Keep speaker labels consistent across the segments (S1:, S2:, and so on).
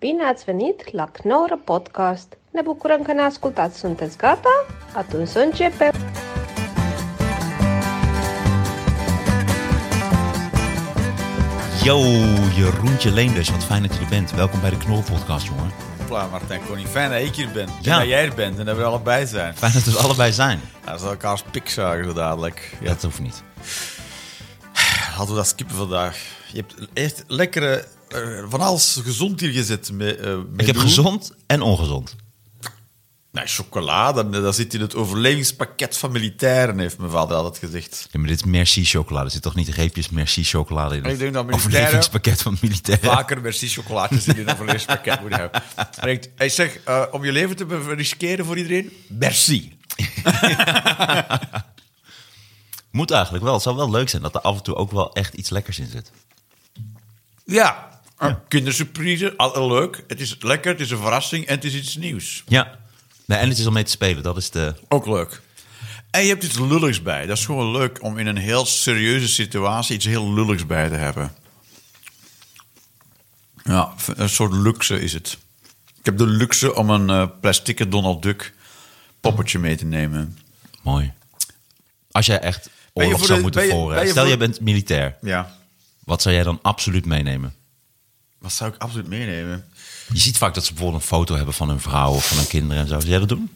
S1: Bine ați venit la Knorr Podcast! Ne bucurăm că ne ascultați! Sunteți gata? Atunci să începem!
S2: Yo, Jeroentje Leenders, wat fijn dat je er bent. Welkom bij de Knol Podcast, jongen.
S3: Hopla, Martijn Koning. Fijn dat ik hier ben.
S2: Ja.
S3: Ja. dat jij er bent en dat we er allebei zijn.
S2: Fijn dat we er allebei zijn.
S3: Ja, dat is elkaars pikzagen zo dadelijk. Ja,
S2: Dat hoeft niet.
S3: hadden we dat skippen vandaag. Je hebt echt lekkere, eh, van alles gezond hier gezet. Met, eh, met
S2: Ik heb
S3: doel.
S2: gezond en ongezond.
S3: Nee, chocolade, nee, dat zit in het overlevingspakket van militairen, heeft mijn vader altijd gezegd.
S2: Ja, maar dit is merci chocolade. Er zit toch niet reepjes merci chocolade in
S3: Ik denk dat
S2: het
S3: militairen-
S2: overlevingspakket van militairen?
S3: Vaker merci chocolaatjes in een overlevingspakket moeten hebben. Hij denkt, Hij zegt, eh, om je leven te be- riskeren voor iedereen, merci.
S2: Moet eigenlijk wel. Het zou wel leuk zijn dat er af en toe ook wel echt iets lekkers in zit.
S3: Ja, Eh, kindersurprise, al- leuk. Het is lekker, het is een verrassing en het is iets nieuws.
S2: Ja. Nee, en het is om mee te spelen. Dat is de...
S3: Ook leuk. En je hebt iets lulligs bij. Dat is gewoon leuk om in een heel serieuze situatie iets heel lulligs bij te hebben. Ja, v- een soort luxe is het. Ik heb de luxe om een eh plastieke Donald Duck poppetje mee te nemen.
S2: Mooi. Als jij echt
S3: je
S2: oorlog
S3: voor
S2: zou
S3: de-
S2: moeten
S3: ben je-
S2: voeren...
S3: ben je
S2: Stel,
S3: voor-
S2: jij bent militair.
S3: Ja,
S2: Wat zou jij dan absoluut meenemen?
S3: wat zou ik absoluut meenemen?
S2: Je ziet vaak dat ze bijvoorbeeld een foto hebben van hun vrouw of van hun kinderen en zo. Zou jij dat doen?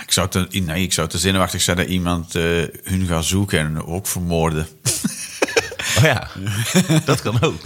S3: Ik zou te, nee, ik zou te zenuwachtig zijn dat iemand eh, hun gaat zoeken en ook vermoorden.
S2: Oh ja, dat kan ook.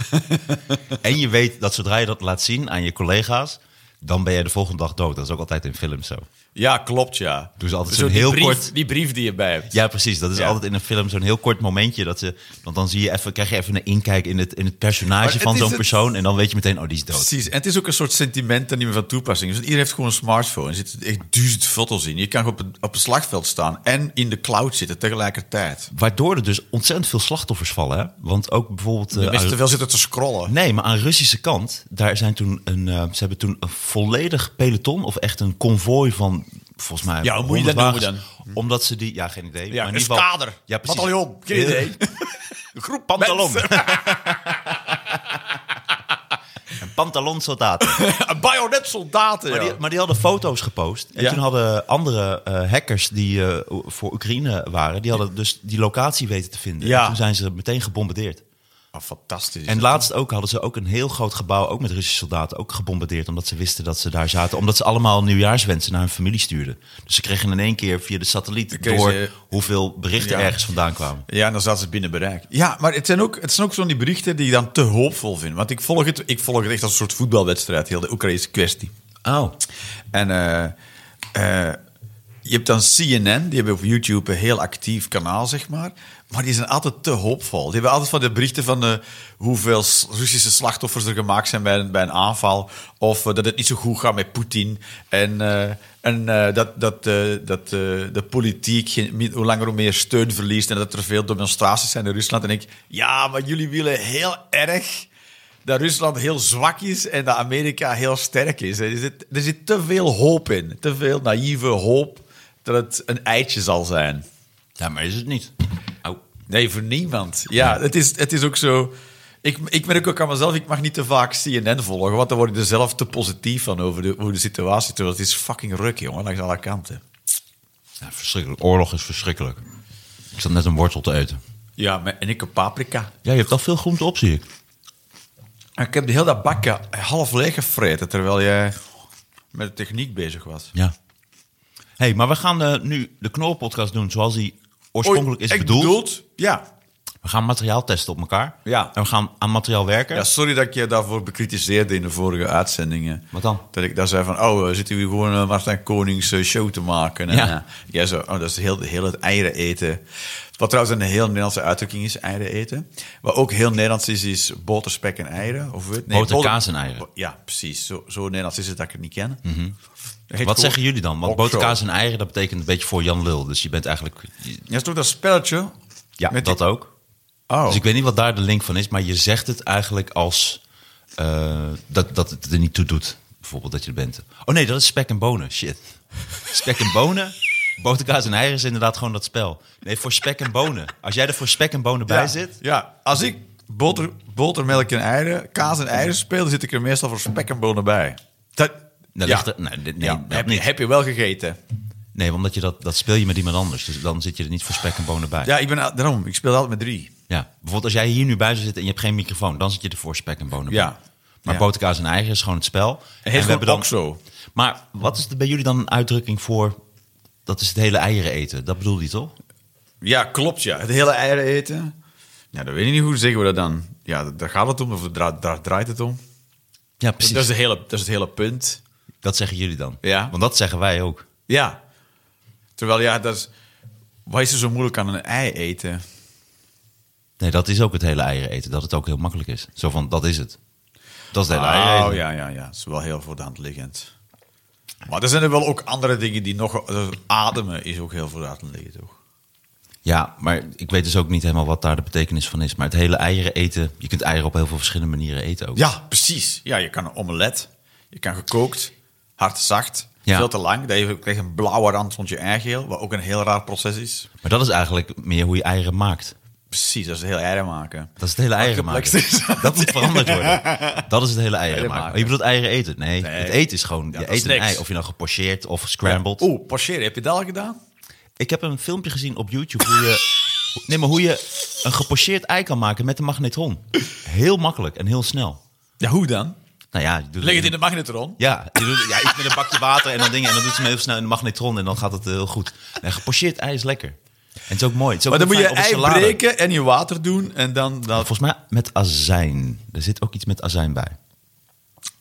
S2: En je weet dat zodra je dat laat zien aan je collega's, dan ben je de volgende dag dood. Dat is ook altijd in films zo.
S3: Ja, klopt, ja.
S2: Doen ze altijd
S3: Zo
S2: zo'n
S3: die
S2: heel
S3: brief-
S2: kort-
S3: Die brief die je bij hebt.
S2: Ja, precies. Dat is
S3: Ja.
S2: altijd in een film zo'n heel kort momentje. Dat ze, want dan zie je even, krijg je even een inkijk in het, in het
S3: Maar
S2: personage
S3: het
S2: van
S3: is
S2: zo'n
S3: het-
S2: persoon. En dan weet je meteen, oh, die is dood.
S3: Precies, en het is ook een soort sentiment dat niet meer van toepassing is. Want iedereen heeft gewoon een smartphone. Er zitten echt duizend foto's in. Je kan gewoon op een, op een slagveld staan en in de cloud zitten tegelijkertijd.
S2: Waardoor er dus ontzettend veel slachtoffers vallen. Hè? Want ook bijvoorbeeld... eh,
S3: De mensen
S2: aan-
S3: te veel zitten te scrollen.
S2: Nee, maar aan de Russische kant, daar zijn toen een, eh, ze hebben toen een volledig peloton of echt een konvooi van volgens mij.
S3: Ja, hoe moet je
S2: 100
S3: dat noemen
S2: wagens. Omdat ze die, ja, geen idee.
S3: Ja,
S2: in
S3: een
S2: ieder geval-
S3: kader.
S2: Ja, precies.
S3: Bataljon, geen
S2: Ja.
S3: idee.
S2: Een groep pantalon.
S3: Mensen.
S2: een pantalonsoldaat.
S3: Een bajonetsoldaten,
S2: Maar,
S3: ja.
S2: die- maar die hadden foto's gepost. En
S3: Ja.
S2: toen hadden andere eh, hackers die eh, voor Oekraïne waren, die hadden dus die locatie weten te vinden.
S3: Ja.
S2: En toen zijn ze meteen gebombardeerd.
S3: Ah, fantastisch.
S2: En laatst ook hadden ze ook een heel groot gebouw, ook met Russische soldaten, ook gebombardeerd. Omdat ze wisten dat ze daar zaten. Omdat ze allemaal nieuwjaarswensen naar hun familie stuurden. Dus ze kregen in één keer via de satelliet
S3: Kregen
S2: door
S3: ze-
S2: hoeveel berichten
S3: Ja.
S2: ergens vandaan kwamen.
S3: Ja, en dan zaten ze binnen bereik. Ja, maar het zijn ook, het zijn ook zo'n die berichten die ik dan te hoopvol vind. Want ik volg het, ik volg het echt als een soort voetbalwedstrijd, heel de Oekraïnse kwestie.
S2: Oh,
S3: En eh, eh, je hebt dan CNN, die hebben op YouTube een heel actief kanaal, zeg maar. Maar die zijn altijd te hoopvol. Die hebben altijd van de berichten van eh, hoeveel s- Russische slachtoffers er gemaakt zijn bij een, bij een aanval. Of eh, dat het niet zo goed gaat met Poetin. En, eh, en eh, dat, dat, eh, dat eh, de politiek geen- niet- hoe langer hoe meer steun verliest. En dat er veel demonstraties zijn in Rusland. En ik, ja, maar jullie willen heel erg dat Rusland heel zwak is en dat Amerika heel sterk is. Er zit, er zit te veel hoop in. Te veel naïeve hoop dat het een eitje zal zijn.
S2: ja, maar is het niet. Oh.
S3: Nee, voor niemand. Ja, het is, het is ook zo... Ik, ik merk ook aan mezelf, ik mag niet te vaak CNN volgen, want dan word ik er zelf te positief van over de, hoe de situatie. Terwijl het is fucking ruk, jongen, langs alle kanten.
S2: Ja, verschrikkelijk. Oorlog is verschrikkelijk. Ik zat net een wortel te eten.
S3: Ja, maar- en ik een paprika.
S2: Ja, je hebt al veel groente op, zie ik.
S3: En Ah, Ik heb de hele dat bakje half leeg gevreten, terwijl jij met de techniek bezig was.
S2: Ja. hey, maar we gaan eh, nu de Knol-podcast doen zoals die oorspronkelijk is
S3: Oei, ik
S2: bedoeld.
S3: Ja,
S2: We gaan materiaal testen op elkaar.
S3: Ja.
S2: En we gaan aan materiaal werken.
S3: Ja, sorry dat ik je daarvoor bekritiseerde in de vorige uitzendingen.
S2: Wat dan?
S3: Dat ik daar zei van, oh, we zitten hier gewoon eh, Martijn Konings eh, show te maken. En,
S2: Ja.
S3: eh, jij zo, oh, dat is heel, heel het eieren eten. Wat trouwens een heel Nederlandse uitdrukking is, eieren eten. Wat ook heel Nederlands is, is boter, spek en eieren. Of weet,
S2: Boter, kaas en eieren. Mhm.
S3: Ja, precies. Zo, zo Nederlands is het dat ik het niet ken.
S2: Wat zeggen jullie dan? Want
S3: boter
S2: boterkaas en eieren, dat betekent een beetje voor Jan Lul. Dus je bent eigenlijk... je-
S3: Ja, is toch dat spelletje?
S2: Ja,
S3: Met
S2: dat
S3: die-
S2: ook.
S3: Oh.
S2: Dus ik weet niet wat daar de link van is, maar je zegt het eigenlijk als... eh, dat, dat het er niet toe doet, bijvoorbeeld, dat je er bent. Oh nee, dat is spek en bonen. Shit. Spek en bonen, boterkaas en eieren is inderdaad gewoon dat spel. Nee, voor spek en bonen. Als jij er voor spek en bonen bij
S3: ja.
S2: zit...
S3: Ja, als ik boter, botermelk en eieren, kaas en eieren speel, zit ik er meestal voor spek en bonen bij. Dat,
S2: Dat
S3: ja.
S2: ligt er- nee, dit- nee,
S3: Ja,
S2: dat
S3: heb, je,
S2: niet.
S3: heb je wel gegeten.
S2: Nee, omdat je dat, dat speel je met iemand anders. Dus dan zit je er niet voor spek en bonen bij. Ja.
S3: Ja, ik ben, al- daarom, ik speel altijd met drie.
S2: Bijvoorbeeld als jij hier nu bij zou zitten en je hebt geen microfoon, dan zit je er voor spek en bonen
S3: Ja.
S2: bij. Maar
S3: Ja.
S2: boterkaas en eigen is gewoon het spel.
S3: En heet
S2: hebben
S3: gewoon ook zo.
S2: Maar wat is er bij jullie dan een uitdrukking voor... dat is het hele eieren eten? Dat bedoel je toch?
S3: Ja, klopt ja. Het hele eieren eten. Ja, dat weet ik niet hoe zeggen we dat dan. Ja, daar gaat het om, of dra- daar draait het om.
S2: Ja,
S3: Dat
S2: precies.
S3: is,
S2: Dat,
S3: de hele, dat is het hele punt.
S2: zeggen jullie dan.
S3: Ja.
S2: Want dat zeggen wij ook.
S3: Ja. Terwijl, ja, dat is... Wat is er zo moeilijk aan een ei eten?
S2: Nee, dat is ook het hele eieren eten. Dat het ook heel makkelijk is. Zo van, dat is het. Dat is het hele eieren
S3: Oh,
S2: eten.
S3: ja, ja, ja. Dat is wel heel voor de hand liggend. Maar er zijn er wel ook andere dingen die nog... eh, Ademen is ook heel voor de hand liggend, toch?
S2: Ja, maar ik weet dus ook niet helemaal wat daar de betekenis van is. Maar het hele eieren eten, je kunt eieren op heel veel verschillende manieren eten ook.
S3: Ja, precies. Ja, je kan een omelet. Je kan gekookt. Hard zacht.
S2: Ja.
S3: Veel te lang. Dat je krijgt een blauwe rand rond je eigeel. Wat ook een heel raar proces is.
S2: Maar dat is eigenlijk meer hoe je eieren maakt.
S3: Precies, dat is heel eieren maken.
S2: Dat is het hele eieren maken.
S3: complex is dat?
S2: Dat moet veranderd worden. Dat is het hele eieren maken.
S3: maken.
S2: Oh, je bedoelt eieren eten? Nee,
S3: Nee.
S2: het eten is gewoon,
S3: Ja,
S2: je
S3: dat is
S2: eet een
S3: niks.
S2: ei. Of je nou gepocheerd of scrambled.
S3: Oeh, pocheren. Heb je dat al gedaan?
S2: Ik heb een filmpje gezien op YouTube hoe je, nee, maar hoe je een gepocheerd ei kan maken met een magnetron. Heel makkelijk en heel snel.
S3: Ja, hoe dan?
S2: Nou ja, je doet
S3: Leg het in de magnetron.
S2: Ja, je doet, ja, iets met een bakje water en dan dingen. En dan doet ze hem heel snel in de magnetron en dan gaat het eh, heel goed. Nee, gepocheerd ei is lekker. En het is ook mooi. Het is ook
S3: Maar dan moet
S2: heel
S3: je
S2: fijn op
S3: ei
S2: een salade.
S3: breken en je water doen en dan... dan...
S2: Volgens mij met azijn. Er zit ook iets met azijn bij.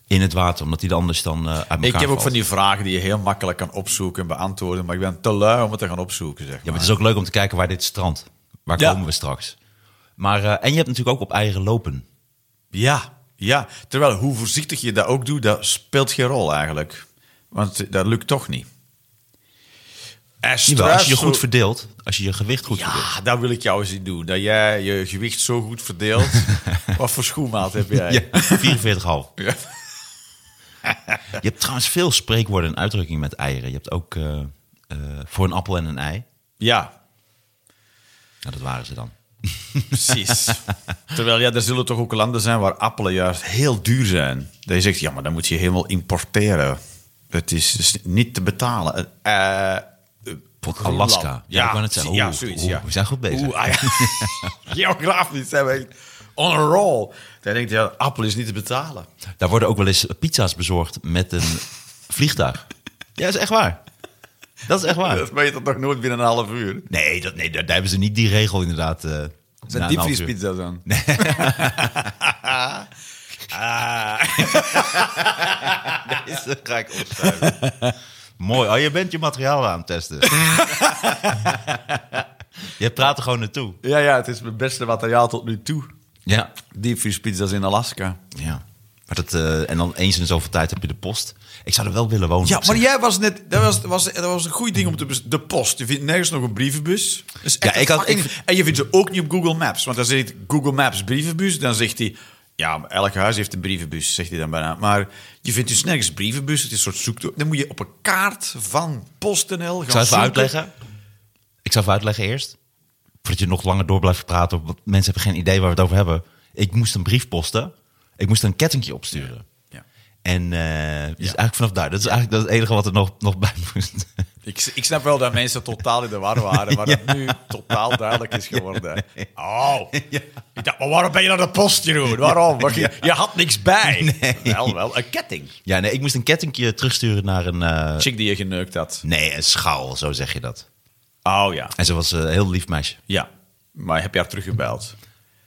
S2: In het water, omdat die er anders dan eh, uit elkaar
S3: Ik heb ook
S2: valt.
S3: van die vragen die je heel makkelijk kan opzoeken en beantwoorden. Maar ik ben te lui om het te gaan opzoeken, zeg
S2: Ja,
S3: maar.
S2: maar het is ook leuk om te kijken waar dit strandt. Waar
S3: Ja.
S2: komen we straks? Maar, eh, en je hebt natuurlijk ook op eieren lopen.
S3: Ja, ja. Terwijl hoe voorzichtig je dat ook doet, dat speelt geen rol eigenlijk. Want dat lukt toch niet.
S2: Jawel,
S3: En
S2: als je je
S3: stress-
S2: goed verdeelt, als je je gewicht goed verdeelt.
S3: Ja, dat wil ik jou eens zien doen. Dat jij je gewicht zo goed verdeelt. Wat voor schoenmaat heb jij?
S2: Ja, 44,5.
S3: Ja.
S2: Je hebt trouwens veel spreekwoorden en uitdrukkingen met eieren. Je hebt ook eh, eh, voor een appel en een ei.
S3: Ja,
S2: Nou, dat waren ze dan.
S3: precies. Terwijl ja, er zullen toch ook landen zijn waar appelen juist heel duur zijn. Dat je zegt, ja, maar dan moet je helemaal importeren. Het is dus niet te betalen. Eh, eh,
S2: Bijvoorbeeld Alaska. Ja, ik wou net zeggen,
S3: ja,
S2: oeh,
S3: zoiets,
S2: oeh,
S3: ja.
S2: we zijn goed bezig.
S3: Oeh, ah, ja. Geografisch zijn we echt on a roll. Dan denk je, ja, appel is niet te betalen.
S2: Daar worden ook wel eens pizza's bezorgd met een vliegtuig. Ja, dat is echt waar. Dat is echt waar.
S3: Dat weet je toch nog nooit binnen een half uur.
S2: Nee, dat, nee daar, daar hebben ze niet die regel inderdaad. eh, na een
S3: Zijn
S2: half uur.
S3: diepvriespizza's dan?
S2: Deze ga ik opschuiven. Mooi. Oh, je bent je materiaal aan het testen. je praat er gewoon naartoe.
S3: Ja, ja, het is mijn beste materiaal tot nu toe.
S2: Ja.
S3: Diepvriespizza's in Alaska.
S2: ja. Maar dat, eh, en dan eens in zoveel tijd heb je de post. Ik zou er wel willen wonen.
S3: Ja,
S2: op
S3: maar
S2: zich.
S3: jij was net... Dat was, was, dat was een goed ding om te... bes- De post. Je vindt nergens nog een brievenbus. Dat is echt
S2: Ja, ik had-
S3: fucking-
S2: ik-
S3: en je vindt ze ook niet op Google Maps. Want dan zegt Google Maps brievenbus. Dan zegt hij... Ja, maar elk huis heeft een brievenbus, zegt hij dan bijna. Maar je vindt dus nergens brievenbus. Het is een soort zoektocht. Dan moet je op een kaart van PostNL gaan
S2: Ik zou even
S3: zoeken.
S2: uitleggen. Ik zou even uitleggen eerst. Voordat je nog langer door blijft praten. Want mensen hebben geen idee waar we het over hebben. Ik moest een brief posten. Ik moest er een kettingje opsturen.
S3: Ja.
S2: En eh dus eigenlijk vanaf daar. Dat is eigenlijk dat is het enige wat er nog, nog bij moest.
S3: Ik, ik snap wel dat mensen totaal in de war waren, maar dat nu totaal duidelijk is geworden. Oh, ik dacht, maar waarom ben je naar de post, Jeroen? Waarom? Want Je, je had niks bij. Wel, wel, een ketting.
S2: Ja, nee, ik moest een kettingje terugsturen naar een... eh,
S3: Chick die je geneukt had.
S2: nee, een schaal, zo zeg je dat.
S3: Oh ja,
S2: En ze was eh, een heel lief meisje.
S3: ja. Maar heb je haar teruggebeld?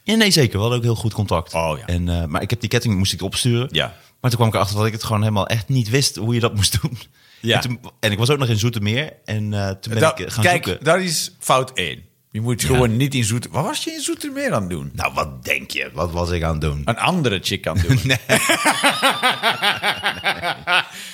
S2: Ja, nee, zeker. We hadden ook heel goed contact.
S3: Oh, ja.
S2: en, eh, maar ik heb die ketting moest ik opsturen.
S3: Ja.
S2: Maar toen kwam ik erachter dat ik het gewoon helemaal echt niet wist hoe je dat moest doen.
S3: Ja.
S2: En, toen- en ik was ook nog in Zoetermeer. En eh, toen ben
S3: Da-
S2: ik eh, gaan
S3: kijk,
S2: zoeken.
S3: dat is fout één. Je moet gewoon niet in Zoeter... Wat was je in Zoetermeer aan het doen?
S2: Nou, wat denk je? Wat was ik aan het doen?
S3: Een andere chick aan het doen.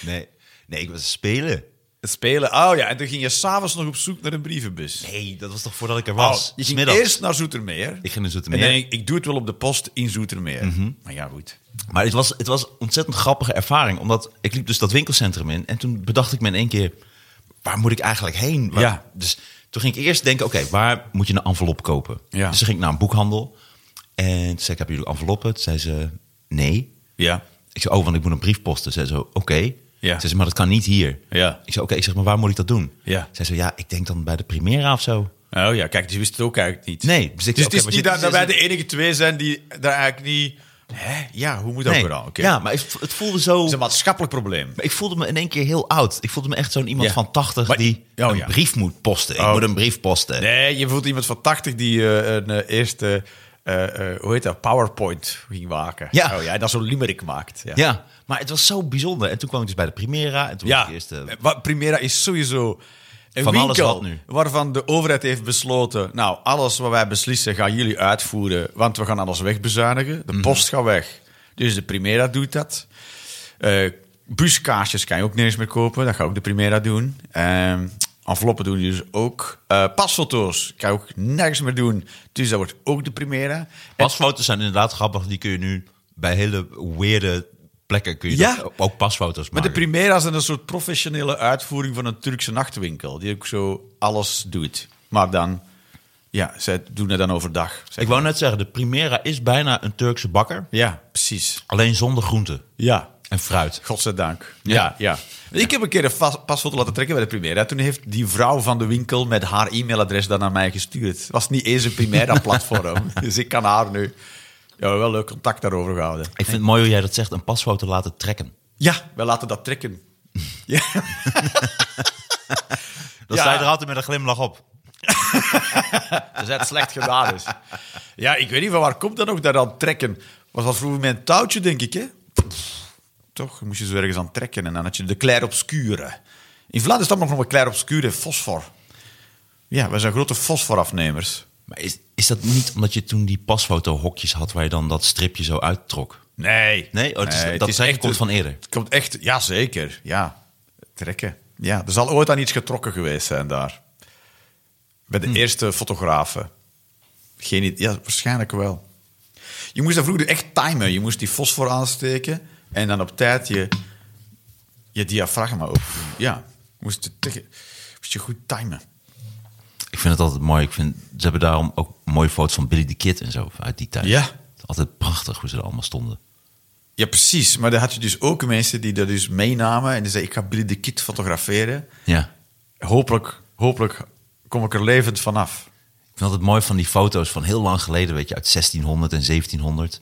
S2: Nee, nee ik was spelen.
S3: Het Spelen. Oh ja, en toen ging je s'avonds nog op zoek naar een brievenbus.
S2: Nee, dat was toch voordat ik er
S3: Oh,
S2: was?
S3: je ging
S2: Smiddags.
S3: eerst naar Zoetermeer.
S2: Ik ging naar
S3: En
S2: Zoetermeer.
S3: dan denk ik, ik doe het wel op de post in Zoetermeer.
S2: Mhm.
S3: Maar ja, goed.
S2: Maar het was, het was een ontzettend grappige ervaring. Omdat ik liep dus dat winkelcentrum in. En toen bedacht ik me in één keer, waar moet ik eigenlijk heen? Waar-
S3: Ja.
S2: Dus toen ging ik eerst denken, oké, waar moet je een envelop kopen?
S3: Ja.
S2: Dus toen ging ik naar een boekhandel. En toen zei ik, hebben jullie enveloppen? Toen zei ze, nee.
S3: Ja.
S2: Ik zei, oh, want ik moet een brief posten. Zei ze, oké.
S3: Ja.
S2: Zei ze, maar dat kan niet hier.
S3: Ja.
S2: Ik zei, oké, ik zeg, maar waar moet ik dat doen?
S3: Ja.
S2: Zei ze, ja, ik denk dan bij de Primera of zo.
S3: Oh ja, kijk, die wist het ook eigenlijk niet.
S2: Nee. Dus, ik zei,
S3: Dus
S2: oké,
S3: het
S2: maar
S3: is
S2: dit-
S3: niet dat, dat
S2: dit
S3: wij
S2: is-
S3: de enige twee zijn die daar eigenlijk niet... Hè? Ja, hoe moet dat
S2: Nee.
S3: vooral? Oké.
S2: Ja, maar het het voelde zo...
S3: Het is een maatschappelijk probleem.
S2: Ik voelde me in één keer heel oud. Ik voelde me echt zo'n iemand
S3: Ja.
S2: van 80
S3: Maar-
S2: die
S3: Oh,
S2: een
S3: ja.
S2: brief moet posten. Ik
S3: Oh.
S2: moet een brief posten.
S3: Nee, je voelt iemand van 80 die eh, een eh, eerste, eh, eh, hoe heet dat, PowerPoint ging maken.
S2: Ja.
S3: Oh, ja en dan zo'n limerick maakt. Ja.
S2: Ja, maar het was zo bijzonder. En toen kwam ik dus bij de Primera. En toen was
S3: Ja.
S2: ik eerst... eh,
S3: Wat- Primera is sowieso een
S2: Van
S3: winkel
S2: alles wat nu.
S3: waarvan de overheid heeft besloten... Nou, alles wat wij beslissen gaan jullie uitvoeren, want we gaan alles wegbezuinigen. De
S2: Mhm.
S3: post gaat weg. Dus de Primera doet dat. Eh buskaarsjes kan je ook nergens meer kopen. Dat gaat ook de Primera doen. Ehm, enveloppen doen die dus ook. Eh, pasfoto's kan je ook nergens meer doen. Dus dat wordt ook de Primera.
S2: Pasfoto's zijn inderdaad grappig. Die kun je nu bij hele weirde plekken kun je
S3: Ja.
S2: dat- ook pasfoto's
S3: Maar
S2: maken.
S3: de Primera is een soort professionele uitvoering van een Turkse nachtwinkel. Die ook zo alles doet. Maar dan, ja, zij doen het dan overdag. zeg
S2: ik wou net zeggen, de Primera is bijna een Turkse bakker.
S3: maar. Ja, precies.
S2: Alleen zonder groenten
S3: Ja.
S2: en fruit.
S3: Godzijdank.
S2: Ja.
S3: Ja. ja, Ik heb een keer een vas- pasfoto laten trekken bij de Primera. Toen heeft die vrouw van de winkel met haar e-mailadres dat naar mij gestuurd. Het was niet eens een Primera-platform. dus ik kan haar nu... Ja, wel leuk contact daarover gehouden.
S2: Ik vind het mooi hoe jij dat zegt. Een pasfoto laten trekken.
S3: Ja, wij laten dat trekken. Ja.
S2: Dan
S3: Ja.
S2: sta je er altijd met een glimlach op.
S3: Dus dat het slecht gedaan is. Ja, ik weet niet van waar komt dat nog dat aan trekken. Was dat vroeger met een touwtje, denk ik, hè? Toch, dan moest je zo ergens aan trekken en dan had je de clair obscure. In Vlaanderen is dat nog wel clair obscure, fosfor. Ja, wij zijn grote fosforafnemers.
S2: Maar is, is dat niet omdat je toen die pasfotohokjes had... waar je dan dat stripje zo uittrok?
S3: Nee.
S2: Nee, oh, het is- dat trekken
S3: echt-
S2: komt van eerder.
S3: Het komt echt, ja zeker, ja. Trekken. Ja, er zal ooit aan iets getrokken geweest zijn daar. Bij
S2: Hm.
S3: de eerste fotografen. Geen idee. Ja, waarschijnlijk wel. Je moest dat vroeger echt timen. Je moest die fosfor aansteken en dan op tijd je, je diafragma op. Ja, moest je, tegen- moest je goed timen.
S2: Ik vind het altijd mooi. Ik vind, ze hebben daarom ook mooie foto's van Billy the Kid en zo uit die tijd.
S3: Ja.
S2: Het is Altijd prachtig hoe ze er allemaal stonden.
S3: Ja, precies. Maar dan had je dus ook mensen die dat dus meenamen en die zeiden: Ik ga Billy de Kid fotograferen.
S2: Ja.
S3: Hopelijk, hopelijk kom ik er levend vanaf.
S2: Ik vind altijd mooi van die foto's van heel lang geleden, weet je, uit 1600 en 1700.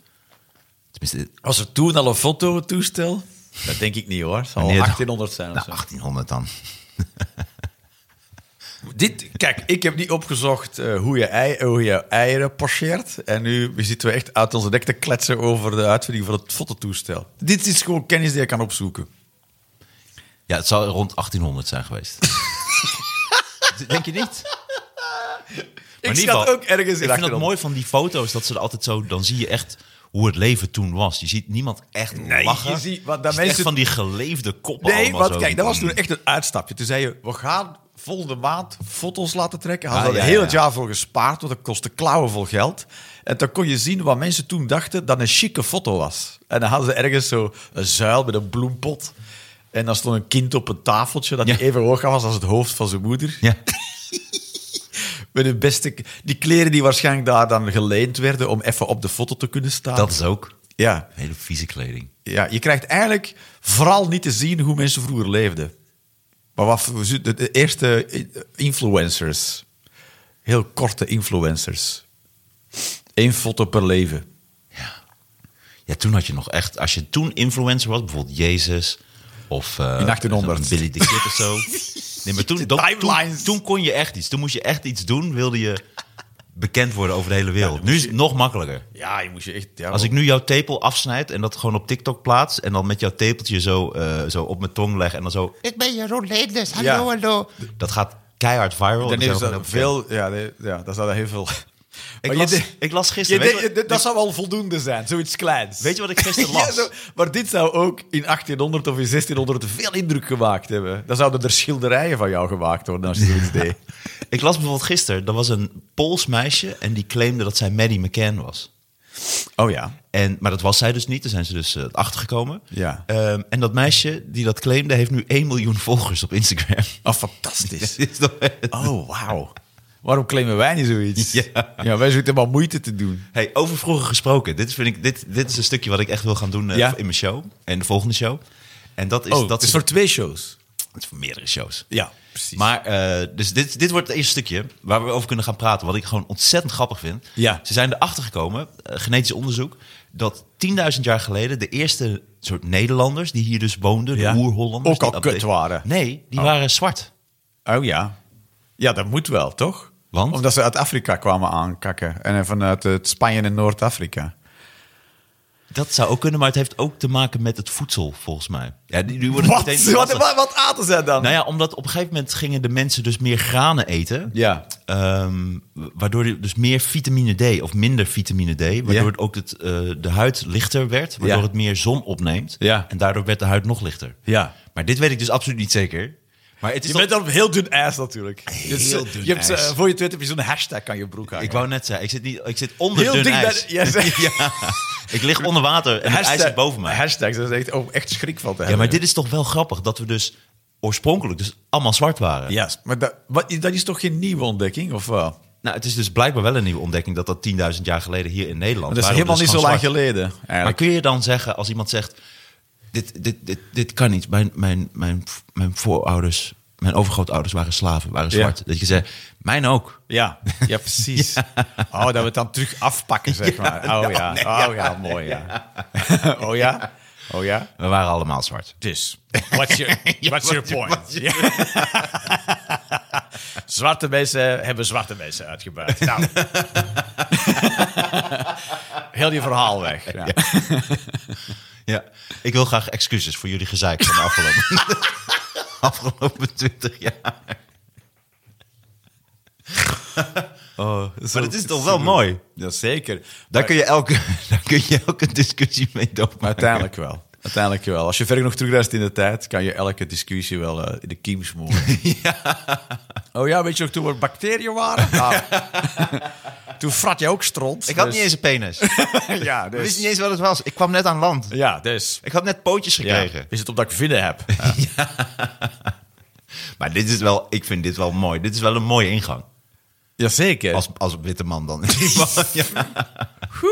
S2: Tenminste,
S3: Was er toen al een fototoestel? Dat denk ik niet hoor. Het zal al
S2: wanneer dan?
S3: 1800 Oh, zijn of
S2: Nou,
S3: zo.
S2: 1800 dan.
S3: Dit, kijk, ik heb niet opgezocht eh, hoe, je ei, hoe je eieren pocheert. En nu zitten we echt uit onze nek te kletsen over de uitvinding van het fototoestel. Dit is gewoon kennis die je kan opzoeken.
S2: Ja, het zou rond 1800 zijn geweest. Denk je niet? Maar
S3: Ik
S2: in
S3: zat
S2: ieder geval,
S3: ook ergens in
S2: Ik vind dat
S3: 1800.
S2: mooi van die foto's, dat ze er altijd zo... Dan zie je echt hoe het leven toen was. Je ziet niemand echt lachen.
S3: je ziet- want dat
S2: Je ziet echt
S3: mensen-
S2: van die geleefde koppen
S3: Nee,
S2: allemaal
S3: want
S2: zo.
S3: kijk, dat was toen echt een uitstapje. Toen zei je, we gaan volgende maand foto's laten trekken. Hadden
S2: Ah,
S3: we er
S2: ja,
S3: heel
S2: ja.
S3: het jaar voor gespaard, want dat kostte klauwenvol geld. En dan kon je zien wat mensen toen dachten dat een chique foto was. En dan hadden ze ergens zo een zuil met een bloempot. En dan stond een kind op een tafeltje dat
S2: Ja.
S3: niet even hoog was als het hoofd van zijn moeder.
S2: Ja.
S3: Met hun beste... Die kleren die waarschijnlijk daar dan geleend werden om even op de foto te kunnen staan.
S2: Dat is ook
S3: Ja,
S2: hele vieze kleding.
S3: ja, je krijgt eigenlijk vooral niet te zien hoe mensen vroeger leefden. Maar wat voor- de, de eerste influencers. Heel korte influencers. Eén foto per leven.
S2: Ja, toen had je nog echt... Als je toen influencer was, bijvoorbeeld Jezus of... eh,
S3: In 1800.
S2: Billy the Kid of zo. Nee, maar toen,
S3: De
S2: dat- toen,
S3: timelines.
S2: toen kon je echt iets. Toen moest je echt iets doen, wilde je bekend worden over de hele wereld. Nu is het nog makkelijker.
S3: Ja, je moest je echt... Ja,
S2: Als ik nu jouw tepel afsnijd en dat gewoon op TikTok plaats... en dan met jouw tepeltje zo, eh, zo op mijn tong leg en dan zo... Ik ben Jeroen Leenders, hallo,
S3: Ja.
S2: hallo. Dat gaat keihard viral.
S3: dan
S2: Dan zijn
S3: is
S2: we gewoon
S3: dat
S2: heel
S3: veel... Ja, nee, ja, daar staat er heel veel...
S2: bekend. Ik,
S3: Maar je
S2: las,
S3: de-
S2: ik las
S3: je
S2: gisteren...
S3: de-
S2: weet je
S3: je- dat zou wel voldoende zijn, zoiets kleins.
S2: Weet je wat ik gisteren
S3: Ja,
S2: las?
S3: zo- maar dit zou ook in 1800 of in 1600 veel indruk gemaakt hebben. Dan zouden er schilderijen van jou gemaakt worden als je zoiets deed.
S2: Ik las bijvoorbeeld gisteren, er was een Pools meisje en die claimde dat zij Maddie McCann was.
S3: Oh ja.
S2: En, maar dat was zij dus niet, daar zijn ze dus eh, achtergekomen.
S3: Ja.
S2: Ehm, en dat meisje die dat claimde, heeft nu 1 miljoen volgers op Instagram.
S3: Oh, fantastisch.
S2: Is dat-
S3: Oh, wauw. Waarom claimen wij niet zoiets?
S2: Ja.
S3: wij zoeken maar moeite te doen.
S2: Hey, over vroeger gesproken. Dit, vind ik, dit, dit is een stukje wat ik echt wil gaan doen eh,
S3: Ja.
S2: in mijn show. En de volgende show. En dat is,
S3: oh,
S2: dat
S3: dat is
S2: ze-
S3: voor twee shows.
S2: het is voor meerdere shows.
S3: Ja, precies.
S2: Maar, eh, dus dit, dit wordt het eerste stukje waar we over kunnen gaan praten. Wat ik gewoon ontzettend grappig vind.
S3: Ja.
S2: Ze zijn erachter gekomen, eh, genetisch onderzoek, dat 10.000 jaar geleden de eerste soort Nederlanders die hier dus woonden,
S3: Ja.
S2: de oer-Hollanders.
S3: Ook al
S2: die-
S3: kut waren.
S2: Nee, die
S3: Oh.
S2: waren zwart.
S3: oh ja. Ja, dat moet wel, toch?
S2: Want?
S3: Omdat ze uit Afrika kwamen aankakken. En vanuit het Spanje en Noord-Afrika.
S2: Dat zou ook kunnen, maar het heeft ook te maken met het voedsel, volgens mij. Ja, die, die worden
S3: Wat?
S2: meteen
S3: Wat, wat, wat aten zij dan?
S2: Nou ja, omdat op een gegeven moment gingen de mensen dus meer granen eten.
S3: Ja.
S2: Ehm, waardoor er dus meer vitamine D of minder vitamine D. Waardoor
S3: Ja.
S2: het ook het, eh, de huid lichter werd. Waardoor
S3: Ja.
S2: het meer zon opneemt.
S3: Ja.
S2: En daardoor werd de huid nog lichter.
S3: Ja.
S2: Maar dit weet ik dus absoluut niet zeker. Maar het is
S3: Je
S2: toch-
S3: bent dan op heel dun ijs natuurlijk.
S2: Heel
S3: Dus, eh,
S2: dun
S3: je hebt, eh,
S2: ijs.
S3: Voor je Twitter heb je zo'n hashtag aan je broek hangen.
S2: Ik wou net zeggen, ik zit, niet, ik zit onder
S3: Heel
S2: dun
S3: dicht bij
S2: ijs.
S3: de- Ja, zeg-
S2: ja. Ik lig onder water en het ijs zit boven mij.
S3: Hashtags, dat is echt, oh, echt schrik van te
S2: Ja,
S3: hebben.
S2: maar dit is toch wel grappig dat we dus oorspronkelijk dus allemaal zwart waren.
S3: Ja, maar dat, wat, dat is toch geen nieuwe ontdekking? Of, wel?
S2: Nou, het is dus blijkbaar wel een nieuwe ontdekking dat dat 10.000 jaar geleden hier in Nederland.
S3: dat is
S2: waren we
S3: helemaal
S2: dus
S3: niet zo
S2: gewoon
S3: lang
S2: zwart.
S3: geleden. Eigenlijk.
S2: Maar kun je dan zeggen, als iemand zegt: Dit, dit, dit, dit kan niet, mijn, mijn, mijn, mijn voorouders, mijn overgrootouders waren slaven, waren
S3: Ja.
S2: zwart. Dat je zegt: Mijn ook.
S3: Ja, ja precies. Oh, dat we het dan terug afpakken, zeg maar. Oh ja, oh ja, mooi ja. Oh ja, oh ja.
S2: We waren allemaal zwart.
S3: Dus, what's your, what's your point? Ja. zwarte mensen hebben zwarte mensen uitgebuit. Nou. Heel je verhaal weg. Ja.
S2: Ja. Ik wil graag excuses voor jullie gezeik van de afgelopen, afgelopen 20 jaar. maar het is toch wel mooi.
S3: Jazeker.
S2: Daar kun, je elke, daar kun je elke discussie mee doodmaken.
S3: Maar uiteindelijk wel. Uiteindelijk wel. Als je verder nog terugreist in de tijd, kan je elke discussie wel eh, in de kiem smoren. Oh ja, weet je nog toen we bacteriën waren? Nou, toen frat je ook stront.
S2: Ah. Ik had
S3: dus-
S2: niet eens een penis.
S3: Ja,
S2: Ik
S3: dus.
S2: wist niet eens wat het was. Ik kwam net aan land.
S3: Ja, dus.
S2: Ik had net pootjes
S3: Ja.
S2: gekregen.
S3: Is het omdat ik vinden heb?
S2: Maar dit is wel, ik vind dit wel mooi. Dit is wel een mooie ingang.
S3: Jazeker.
S2: Als, als witte man dan. ja.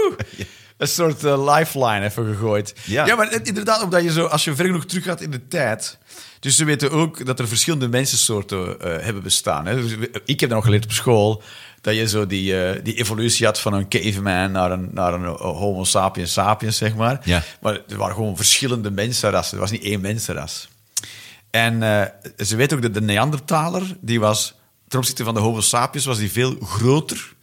S3: een soort eh, lifeline even gegooid.
S2: Ja.
S3: Ja, maar het- inderdaad, omdat je zo, als je ver genoeg terug gaat in de tijd. Dus ze weten ook dat er verschillende mensensoorten eh, hebben bestaan. Hè. Dus we- ik heb dan nog geleerd op school dat je zo die, eh, die evolutie had van een caveman naar een, naar een eh, homo sapiens sapiens, zeg maar.
S2: Ja.
S3: Maar er waren gewoon verschillende mensenrassen. Er was niet één mensenras. En eh, ze weten ook dat de Neandertaler, die was ten opzichte van de Homo sapiens, was die veel groter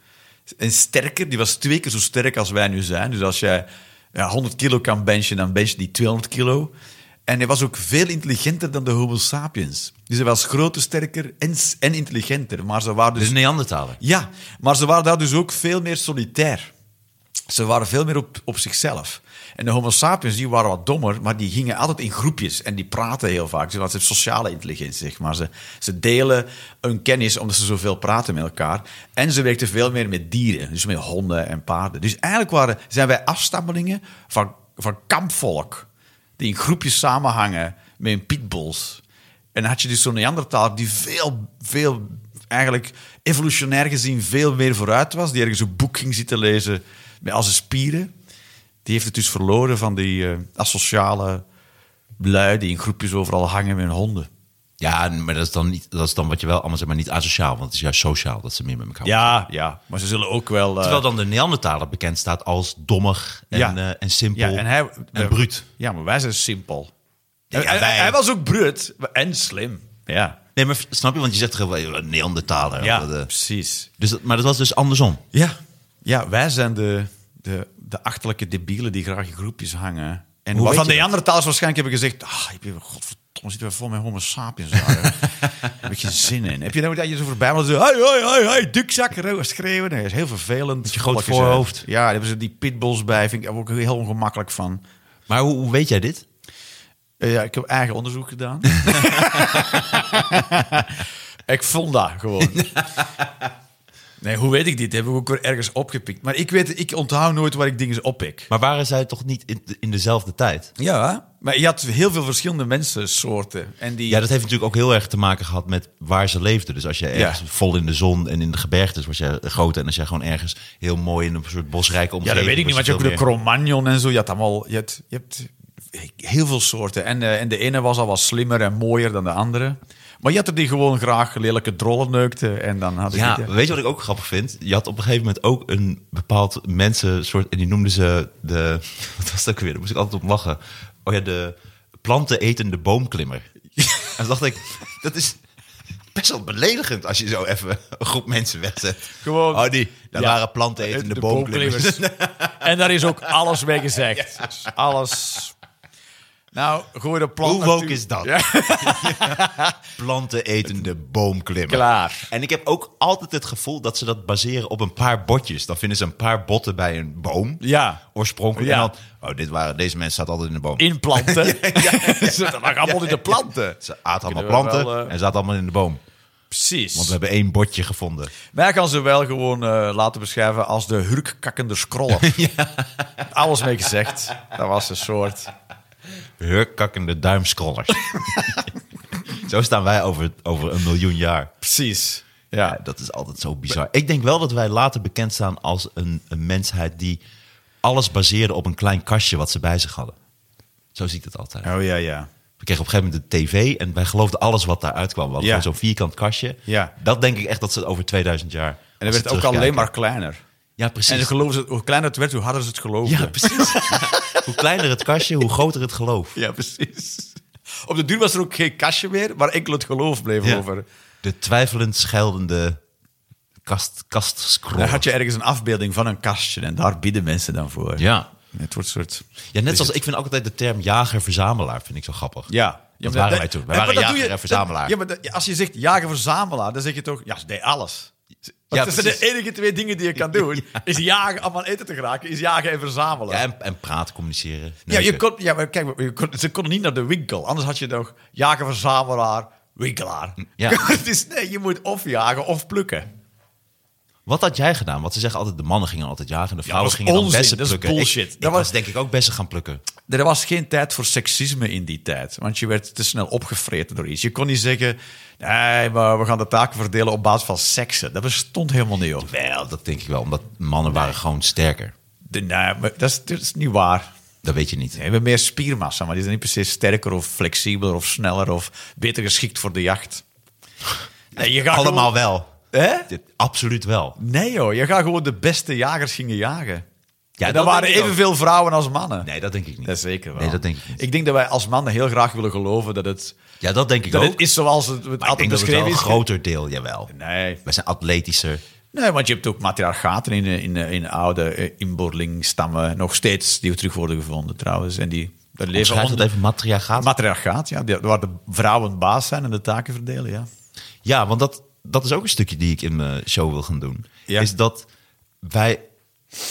S3: en sterker. Die was twee keer zo sterk als wij nu zijn. Dus als jij ja, 100 kilo kan benchen, dan bench je die 200 kilo. En hij was ook veel intelligenter dan de Homo sapiens. Dus hij was groter, sterker en, s- en intelligenter. Maar ze waren dus
S2: Dus Neandertaler.
S3: ja, maar ze waren daar dus ook veel meer solitair. Ze waren veel meer op, op zichzelf. En de homo sapiens, die waren wat dommer, maar die gingen altijd in groepjes en die praten heel vaak. Ze hadden sociale intelligentie, zeg maar. Ze, ze delen hun kennis omdat ze zoveel praten met elkaar. En ze werkten veel meer met dieren, dus met honden en paarden. Dus eigenlijk waren, zijn wij afstammelingen van, van kampvolk, die in groepjes samenhangen met pitbulls. En dan had je dus zo'n Neandertaler die veel, veel, eigenlijk evolutionair gezien veel meer vooruit was. Die ergens een boek ging zitten lezen met al zijn spieren. Die heeft het dus verloren van die eh asociale lui die in groepjes overal hangen met hun honden.
S2: Ja, maar dat is, dan niet, dat is dan wat je wel allemaal zegt, maar niet asociaal. Want het is juist sociaal dat ze meer met elkaar
S3: Ja, ja. Maar ze zullen ook wel... eh,
S2: Terwijl dan de Neandertaler bekend staat als dommig en,
S3: Ja.
S2: eh, en simpel
S3: Ja, en hij... eh,
S2: en bruut.
S3: Ja, maar wij zijn simpel.
S2: Ja,
S3: hij,
S2: wij-
S3: hij was ook bruut en slim. Ja.
S2: Nee, maar snap je? Want je zegt toch wel eh, Neandertaler.
S3: Ja,
S2: Of dat, eh,
S3: precies.
S2: dus dat- maar dat was dus andersom.
S3: Ja, ja wij zijn de, de, de achterlijke debielen die graag in groepjes hangen. En
S2: Hoe weet je
S3: waarvan de
S2: dat?
S3: Neandertalers waarschijnlijk hebben gezegd... Ah, ik ben- godverdomme, zitten we vol met homo sapiens daar. hè. heb ik geen zin in. Heb je nou dat je zo voorbij wil zo... Hoi, hoi, hoi, hoi, dikzak, rauw, schreeuwen. Nee, dat is heel vervelend. Met
S2: je groot voorhoofd.
S3: Ja, daar hebben ze die pitbulls bij. Vind ik daar word ik heel ongemakkelijk van.
S2: Maar hoe, hoe weet jij dit?
S3: Eh, ja, ik heb eigen onderzoek gedaan. ik vond dat gewoon. Nee, hoe weet ik dit? Heb ik ook weer ergens opgepikt. Maar ik weet, ik onthoud nooit waar ik dingen oppik.
S2: Maar waren zij toch niet in, in dezelfde tijd?
S3: Ja, maar je had heel veel verschillende mensensoorten. En die,
S2: Ja, dat heeft natuurlijk ook heel erg te maken gehad met waar ze leefden. Dus als je ergens
S3: Ja.
S2: vol in de zon en in de gebergtes was jij groot. En als jij gewoon ergens heel mooi in een soort bosrijke
S3: ja
S2: omgeving...
S3: dat weet ik niet, want
S2: was
S3: je
S2: je
S3: hebt ook
S2: veel
S3: de
S2: meer-
S3: Cro-Magnon en zo. Je, had allemaal, je, hebt, je hebt heel veel soorten. En, eh, en de ene was al wat slimmer en mooier dan de andere. Maar je had er die gewoon graag lelijke drollen neukte. En dan had ik
S2: Ja,
S3: het, eh,
S2: weet je wat ik ook grappig vind? Je had op een gegeven moment ook een bepaald mensen soort... En die noemden ze de... Wat was dat ook weer? Daar moest ik altijd op lachen. Oh ja, de plantenetende boomklimmer. en toen dacht ik, dat is... Best wel beledigend als je zo even een groep mensen wegzet.
S3: Gewoon-
S2: Oh, die. Daar
S3: Ja.
S2: waren plantenetende
S3: de
S2: boomklimmers.
S3: boomklimmers. en daar is ook alles mee gezegd. Alles. Nou, gooi de plant.
S2: Hoe woke
S3: natuurlijk-
S2: is dat?
S3: Ja.
S2: plantenetende boomklimmer.
S3: Klaar.
S2: En ik heb ook altijd het gevoel dat ze dat baseren op een paar botjes. Dan vinden ze een paar botten bij een boom.
S3: Ja.
S2: Oorspronkelijk.
S3: Ja.
S2: En dan, oh, dit waren, deze mensen zaten altijd in de boom.
S3: Inplanten. Dat mag allemaal in de planten.
S2: Ze aten allemaal
S3: Kunnen we
S2: planten
S3: wel, eh,
S2: en zaten allemaal in de boom.
S3: Precies.
S2: Want we hebben één botje gevonden.
S3: Wij gaan ze wel gewoon eh, laten beschrijven als de hurkkakkende scroller. Alles mee gezegd. Dat was een soort.
S2: Hurkkakkende duimscrollers. zo staan wij over, over een miljoen jaar.
S3: Precies.
S2: Ja,
S3: Ja.
S2: Eh, dat is altijd zo bizar. Ik denk wel dat wij later bekend staan als een, een mensheid die alles baseerde op een klein kastje wat ze bij zich hadden. Zo zie ik dat altijd.
S3: Oh ja, ja.
S2: We kregen op een gegeven moment de tv en wij geloofden alles wat daaruit kwam. We hadden
S3: Ja.
S2: gewoon zo'n vierkant kastje.
S3: Ja.
S2: Dat denk ik echt dat ze het over 2000 jaar.
S3: En dat werd ook alleen maar kleiner.
S2: Ja, precies.
S3: En ze geloofden het, hoe kleiner het werd, hoe harder ze het geloofden.
S2: Ja, precies. hoe kleiner het kastje, hoe groter het geloof.
S3: Ja, precies. Op de duur was er ook geen kastje meer, maar enkel het geloof bleef
S2: Ja.
S3: over.
S2: De twijfelend scheldende kast, kastscroll.
S3: Dan had je ergens een afbeelding van een kastje en daar bieden mensen dan voor.
S2: Ja.
S3: Het wordt een soort...
S2: ja, net zoals ik vind ook altijd de term jager-verzamelaar vind ik zo grappig.
S3: Ja.
S2: Dat
S3: maar
S2: waren wij toen. Wij
S3: maar
S2: waren
S3: dat doe
S2: jager en
S3: dat-
S2: verzamelaar.
S3: Ja, maar dat- ja, als je zegt jager-verzamelaar, dan zeg je toch, ja, ze deed alles. Want
S2: Ja,
S3: dat zijn de
S2: precies.
S3: enige twee dingen die je kan doen. Is jagen om aan eten te geraken, is jagen en verzamelen.
S2: Ja, en, en praten, communiceren.
S3: Ja, je
S2: neuken.
S3: kon, ja maar kijk, je kon, ze konden niet naar de winkel. Anders had je nog jager-verzamelaar, winkelaar.
S2: Ja.
S3: Het is nee, je moet of jagen of plukken.
S2: Wat had jij gedaan? Want ze zeggen altijd, de mannen gingen altijd jagen en de vrouwen
S3: dat is
S2: gingen dan
S3: onzin.
S2: bessen
S3: Dat is
S2: plukken.
S3: bullshit.
S2: Ik, ik
S3: Dat was-
S2: was denk ik ook bessen gaan plukken.
S3: Er was geen tijd voor seksisme in die tijd. Want je werd te snel opgevreten door iets. Je kon niet zeggen, nee, maar we gaan de taken verdelen op basis van seksen. Dat bestond helemaal niet, joh.
S2: Wel, dat denk ik wel, omdat mannen waren gewoon sterker.
S3: De- nee, maar dat, is, dat is niet waar.
S2: Dat weet je niet.
S3: Die hebben meer spiermassa, maar die zijn niet precies sterker of flexibeler of sneller of beter geschikt voor de jacht. Nee, je gaat
S2: Allemaal wel.
S3: gewoon- Hè?
S2: Dit- Absoluut wel.
S3: Nee joh, je gaat gewoon de beste jagers gingen jagen. Ja,
S2: dat
S3: dat waren
S2: denk ik ook.
S3: evenveel vrouwen als mannen.
S2: Nee, dat denk ik niet.
S3: dat is zeker wel.
S2: Nee, dat denk ik niet.
S3: Ik denk dat wij als mannen heel graag willen geloven dat het,
S2: Ja, dat denk ik
S3: dat
S2: ook.
S3: het is zoals het, het
S2: Maar ik
S3: altijd
S2: denk dat het wel
S3: beschreven
S2: een
S3: is.
S2: groter deel, jawel.
S3: Nee.
S2: Wij zijn atletischer.
S3: nee, want je hebt ook matriarchaten in, eh, in, eh, in oude eh, inboorlingstammen nog steeds die terug worden gevonden trouwens. En die daar leven
S2: Schrijf dat
S3: onder...
S2: even, matria gaat.
S3: Matriarchaat, ja, die- waar de vrouwen baas zijn en de taken verdelen, ja.
S2: ja, want dat, dat is ook een stukje die ik in mijn show wil gaan doen.
S3: Ja.
S2: Is dat wij,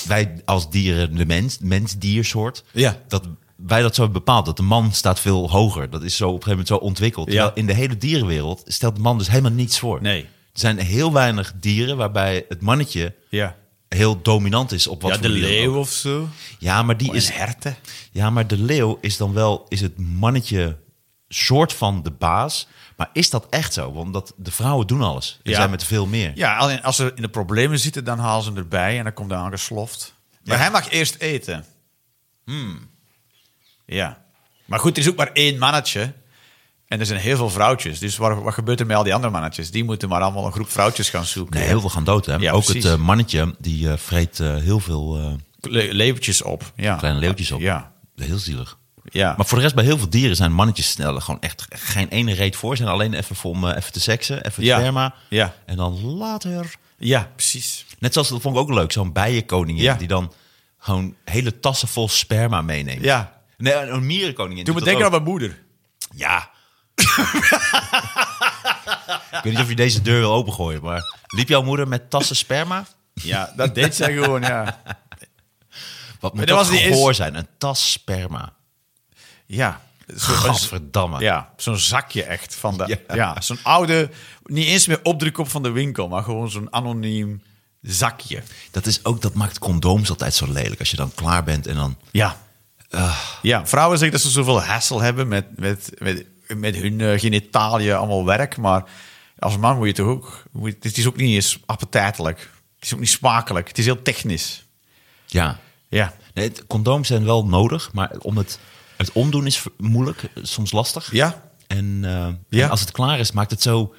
S2: wij als dieren, de mens, mens-diersoort,
S3: Ja.
S2: dat wij dat zo hebben bepaald. Dat de man staat veel hoger. Dat is zo op een gegeven moment zo ontwikkeld.
S3: Ja.
S2: Terwijl in de hele dierenwereld stelt de man dus helemaal niets voor.
S3: Nee.
S2: Er zijn heel weinig dieren waarbij het mannetje
S3: Ja,
S2: heel dominant is op wat
S3: ja
S2: voor
S3: de
S2: manier dan ook.
S3: leeuw of zo.
S2: Ja, maar die is
S3: Is herten.
S2: Ja, maar de leeuw is dan wel is het mannetje soort van de baas. Maar is dat echt zo? Omdat de vrouwen doen alles. Er
S3: Ja.
S2: zijn met veel meer.
S3: Ja, alleen als ze in de problemen zitten, dan halen ze hem erbij en dan komt hij aangesloft. Maar hij mag eerst eten. Hmm. Ja. Maar goed, er is ook maar één mannetje. En er zijn heel veel vrouwtjes. Dus waar- wat gebeurt er met al die andere mannetjes? Die moeten maar allemaal een groep vrouwtjes gaan zoeken.
S2: Nee, heel veel gaan dood. Hè?
S3: Ja,
S2: ook
S3: precies.
S2: het eh, mannetje, die eh, vreet eh, heel veel eh,
S3: Le- leeuwtjes op. Ja.
S2: kleine leeuwtjes op.
S3: Ah, Ja.
S2: Heel zielig.
S3: ja.
S2: Maar voor de rest, bij heel veel dieren zijn mannetjes sneller. Gewoon echt geen ene reet voor. Zijn alleen even voor om eh, even te seksen, even het
S3: Ja.
S2: sperma.
S3: Ja.
S2: En dan later.
S3: ja, precies.
S2: Net zoals, dat vond ik ook leuk, zo'n bijenkoningin.
S3: Ja.
S2: Die dan gewoon hele tassen vol sperma meeneemt.
S3: Ja.
S2: Nee, een een mierenkoningin. doet
S3: Doe
S2: dat
S3: me denken
S2: ook.
S3: aan mijn moeder.
S2: Ja. ik weet niet of je deze deur wil opengooien, maar liep jouw moeder met tassen sperma?
S3: Ja, dat deed zij gewoon, ja.
S2: Wat moet
S3: dat
S2: dat
S3: was niet
S2: gehoor
S3: eens-
S2: zijn? Een tas sperma.
S3: Ja. Zo-
S2: Gadverdamme.
S3: Ja, zo'n zakje echt. Van de,
S2: Ja.
S3: ja. zo'n oude, niet eens meer opdruk op van de winkel, maar gewoon zo'n anoniem zakje.
S2: Dat is ook, dat maakt condooms altijd zo lelijk. Als je dan klaar bent en dan...
S3: Ja. Eh. Ja, vrouwen zeggen dat ze zoveel hassel hebben met, met, met, met hun eh, genitaliën, allemaal werk. Maar als man moet je toch ook... Moet, het is ook niet eens appetijtelijk. Het is ook niet smakelijk. Het is heel technisch.
S2: Ja.
S3: Ja.
S2: Nee, het- condooms zijn wel nodig, maar om het, het omdoen is v- moeilijk, eh, soms lastig.
S3: Ja.
S2: En, eh,
S3: Ja.
S2: en als het klaar is, maakt het zo...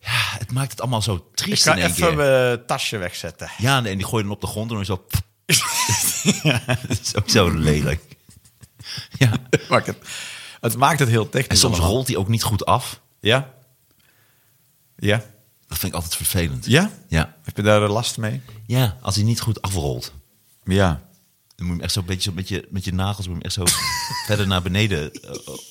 S2: Ja, het maakt het allemaal zo
S3: Ik
S2: triest
S3: ga
S2: in één keer.
S3: even mijn tasje wegzetten.
S2: Ja, en die gooi je dan op de grond en dan zo... dat is ook zo lelijk. Ja.
S3: Maakt het, het maakt het heel technisch.
S2: En soms
S3: allemaal.
S2: rolt hij ook niet goed af.
S3: Ja. Ja.
S2: Dat vind ik altijd vervelend.
S3: Ja?
S2: Ja.
S3: Heb je daar eh, last mee?
S2: Ja, als hij niet goed afrolt.
S3: Ja.
S2: Dan moet je hem echt zo een beetje zo met, je, met je nagels moet je hem echt zo verder naar beneden eh,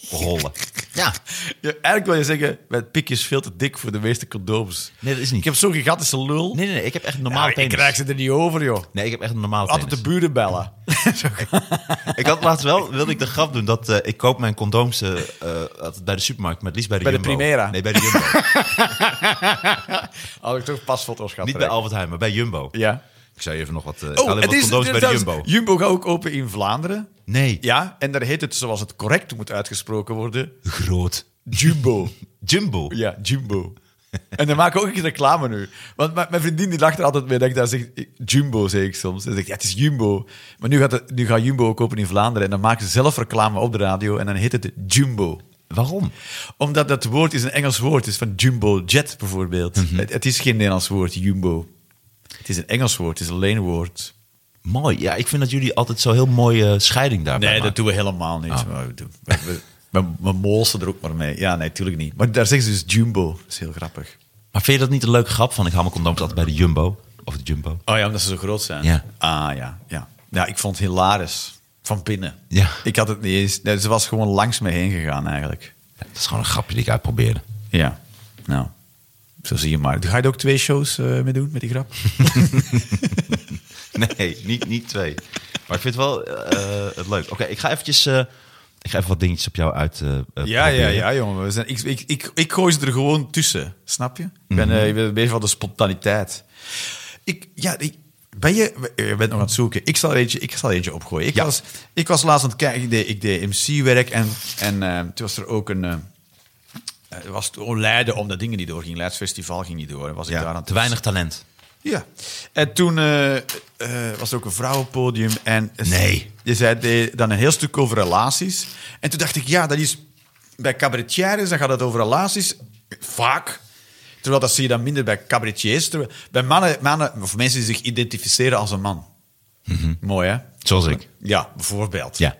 S2: rollen. Ja.
S3: Ja, eigenlijk wil je zeggen, het pikje is veel te dik voor de meeste condooms.
S2: Nee, dat is niet.
S3: Ik heb zo'n gigantische lul.
S2: Nee, nee, nee. Ik heb echt een
S3: Ja,
S2: normale
S3: Nou, ik
S2: penis.
S3: krijg ze er niet over, joh.
S2: Nee, ik heb echt een normale
S3: Altijd de
S2: penis.
S3: buren bellen.
S2: Ik had laatst wel, wilde ik de grap doen, dat eh, ik koop mijn condooms eh, eh, altijd bij de supermarkt, maar het liefst bij de
S3: Bij de
S2: Jumbo.
S3: Primera.
S2: Nee, bij de Jumbo.
S3: Had ik toch pasfoto's gehad.
S2: niet bij Albert Heijn, maar bij Jumbo.
S3: Ja.
S2: Ik zou je even nog wat... eh ik
S3: Oh,
S2: haal even
S3: het
S2: wat
S3: is,
S2: condooms bij de
S3: trouwens,
S2: Jumbo.
S3: Jumbo gaat ook open in Vlaanderen.
S2: Nee,
S3: Ja, en daar heet het, zoals het correct moet uitgesproken worden,
S2: groot.
S3: Jumbo.
S2: Jumbo.
S3: Ja, Jumbo. En dan maken we ook een reclame nu. Want mijn mijn vriendin die lacht er altijd mee dat ik daar zeg... ik- Jumbo, zeg ik soms. En zegt, ja, het is Jumbo. Maar nu gaat, het, nu gaat Jumbo ook open in Vlaanderen. En dan maken ze zelf reclame op de radio. En dan heet het Jumbo.
S2: Waarom?
S3: Omdat dat woord is een Engels woord. Het is van Jumbo Jet bijvoorbeeld. het, het is geen Nederlands woord, Jumbo. Het is een Engels woord. Het is een leenwoord.
S2: Mooi. Ja, ik vind dat jullie altijd zo heel mooie scheiding daarbij
S3: Nee,
S2: maken.
S3: dat doen we helemaal niet. Maar we, doen- we, we, we, we molsen er ook maar mee. Ja, nee, tuurlijk niet. Maar daar zeggen ze dus Jumbo. Dat is heel grappig.
S2: Maar vind je dat niet een leuke grap van ik haal mijn condooms altijd bij de Jumbo? Of de Jumbo?
S3: Oh ja, omdat ze zo groot zijn.
S2: Ja.
S3: Ah ja, ja. Ja, ik vond het hilarisch. Van binnen.
S2: Ja.
S3: Ik had het niet eens... Nee, ze was gewoon langs me heen gegaan eigenlijk.
S2: Ja, dat is gewoon een grapje die ik uitprobeerde.
S3: Ja. Nou, zo zie je maar. Ga je er ook twee shows eh, mee doen, met die grap?
S2: Nee, niet, niet twee. Maar ik vind het wel eh, het leuk. Oké, ik ga eventjes... eh, ik ga even wat dingetjes op jou uit. eh, eh,
S3: Ja, ja,
S2: proberen.
S3: ja, jongen. We zijn, ik, ik, ik, ik gooi ze er gewoon tussen, snap je? Ik
S2: Mhm.
S3: ben, eh, ik ben bezig van de spontaniteit. Ik, ja, ik, ben je, je bent nog aan het zoeken. Ik zal er eentje, ik zal er eentje opgooien. Ik, was, ik was laatst aan het kijken, ik deed, ik deed MC-werk en, en eh, toen was er ook een... eh, eh, was toen Leiden, omdat dingen niet doorgingen. Leids Festival ging niet door. En Was ik
S2: Ja,
S3: daar aan het
S2: te weinig talent.
S3: ja. En toen eh, eh, was er ook een vrouwenpodium. En
S2: Nee.
S3: Je zei de- dan een heel stuk over relaties. En toen dacht ik, ja, dat is... Bij cabaretières, dan gaat het over relaties. Vaak. Terwijl dat zie je dan minder bij cabaretiers. Terwijl- bij mannen, mannen, of mensen die zich identificeren als een man. Mooi, hè?
S2: Zoals ik.
S3: Ja, bijvoorbeeld.
S2: Mhm. Ja.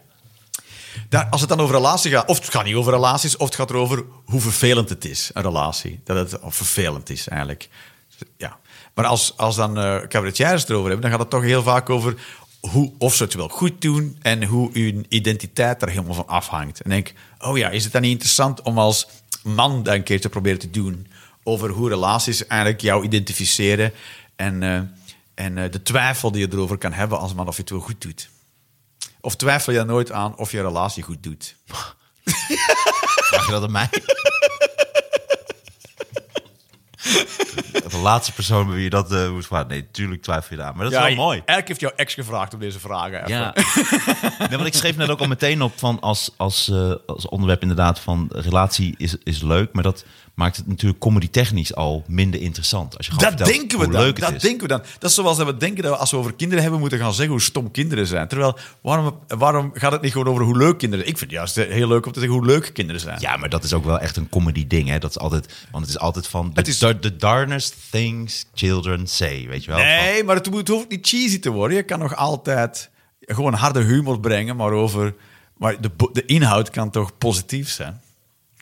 S3: Daar, als het dan over relatie gaat, of het gaat niet over relaties, of het gaat erover hoe vervelend het is, een relatie. Dat het vervelend is eigenlijk. Ja. Maar als, als dan eh cabaretiers het erover hebben, dan gaat het toch heel vaak over hoe, of ze het wel goed doen en hoe hun identiteit daar helemaal van afhangt. En denk, oh ja, is het dan niet interessant om als man dat een keer te proberen te doen over hoe relaties eigenlijk jou identificeren en, eh, en eh, de twijfel die je erover kan hebben als man of je het wel goed doet. Of twijfel je er nooit aan of je relatie goed doet?
S2: Vraag je dat aan mij? de laatste persoon bij wie je dat eh, moet vragen. Nee, tuurlijk twijfel je daar. Maar dat is wel mooi.
S3: Elk heeft jouw ex gevraagd om deze vragen.
S2: Ja. nee, want ik schreef net ook al meteen op van als, als, eh, als onderwerp inderdaad van relatie is, is leuk, maar dat maakt het natuurlijk comedy technisch al minder interessant. Als je gewoon
S3: Dat
S2: vertelt
S3: denken
S2: hoe
S3: we dan.
S2: leuk het
S3: Dat
S2: is.
S3: denken we dan. Dat is zoals dat we denken dat we als we over kinderen hebben moeten gaan zeggen hoe stom kinderen zijn. Terwijl, waarom, waarom gaat het niet gewoon over hoe leuk kinderen zijn? Ik vind het juist eh, heel leuk om te zeggen hoe leuk kinderen zijn.
S2: Ja, maar dat is ook wel echt een comedy ding. Hè? Dat is altijd, want het is altijd van the,
S3: Het is-
S2: the, the darnest things children say, weet je wel? Van-
S3: Nee, maar het, moet, het hoeft niet cheesy te worden. Je kan nog altijd gewoon harde humor brengen, maar, over, maar de, bo- de inhoud kan toch positief zijn?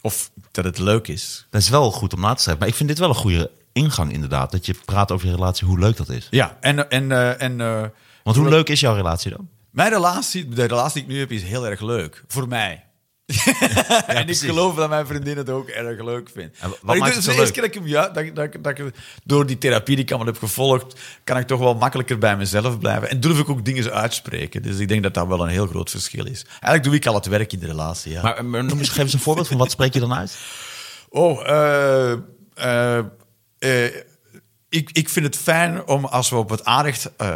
S3: Of dat het leuk is.
S2: dat is wel goed om na te schrijven. Maar ik vind dit wel een goede ingang inderdaad. Dat je praat over je relatie, hoe leuk dat is.
S3: Ja, en... en, eh, en eh,
S2: Want hoe leuk is jouw relatie dan?
S3: Mijn relatie, de relatie die ik nu heb, is heel erg leuk. Voor mij. en
S2: precies.
S3: ik geloof dat mijn vriendin het ook erg leuk vindt.
S2: En wat maakt
S3: ik doe-
S2: het
S3: de
S2: zo
S3: eerste keer dat ik hem ja, dat, ik- dat, ik- dat ik door die therapie die ik allemaal heb gevolgd, kan ik toch wel makkelijker bij mezelf blijven. En durf ik ook dingen uitspreken. Dus ik denk dat dat wel een heel groot verschil is. Eigenlijk doe ik al het werk in de relatie. Ja.
S2: Maar, maar noem eens, geef eens een voorbeeld van wat spreek je dan uit?
S3: Oh, eh, eh, eh, ik, ik vind het fijn om als we op het aanrecht eh,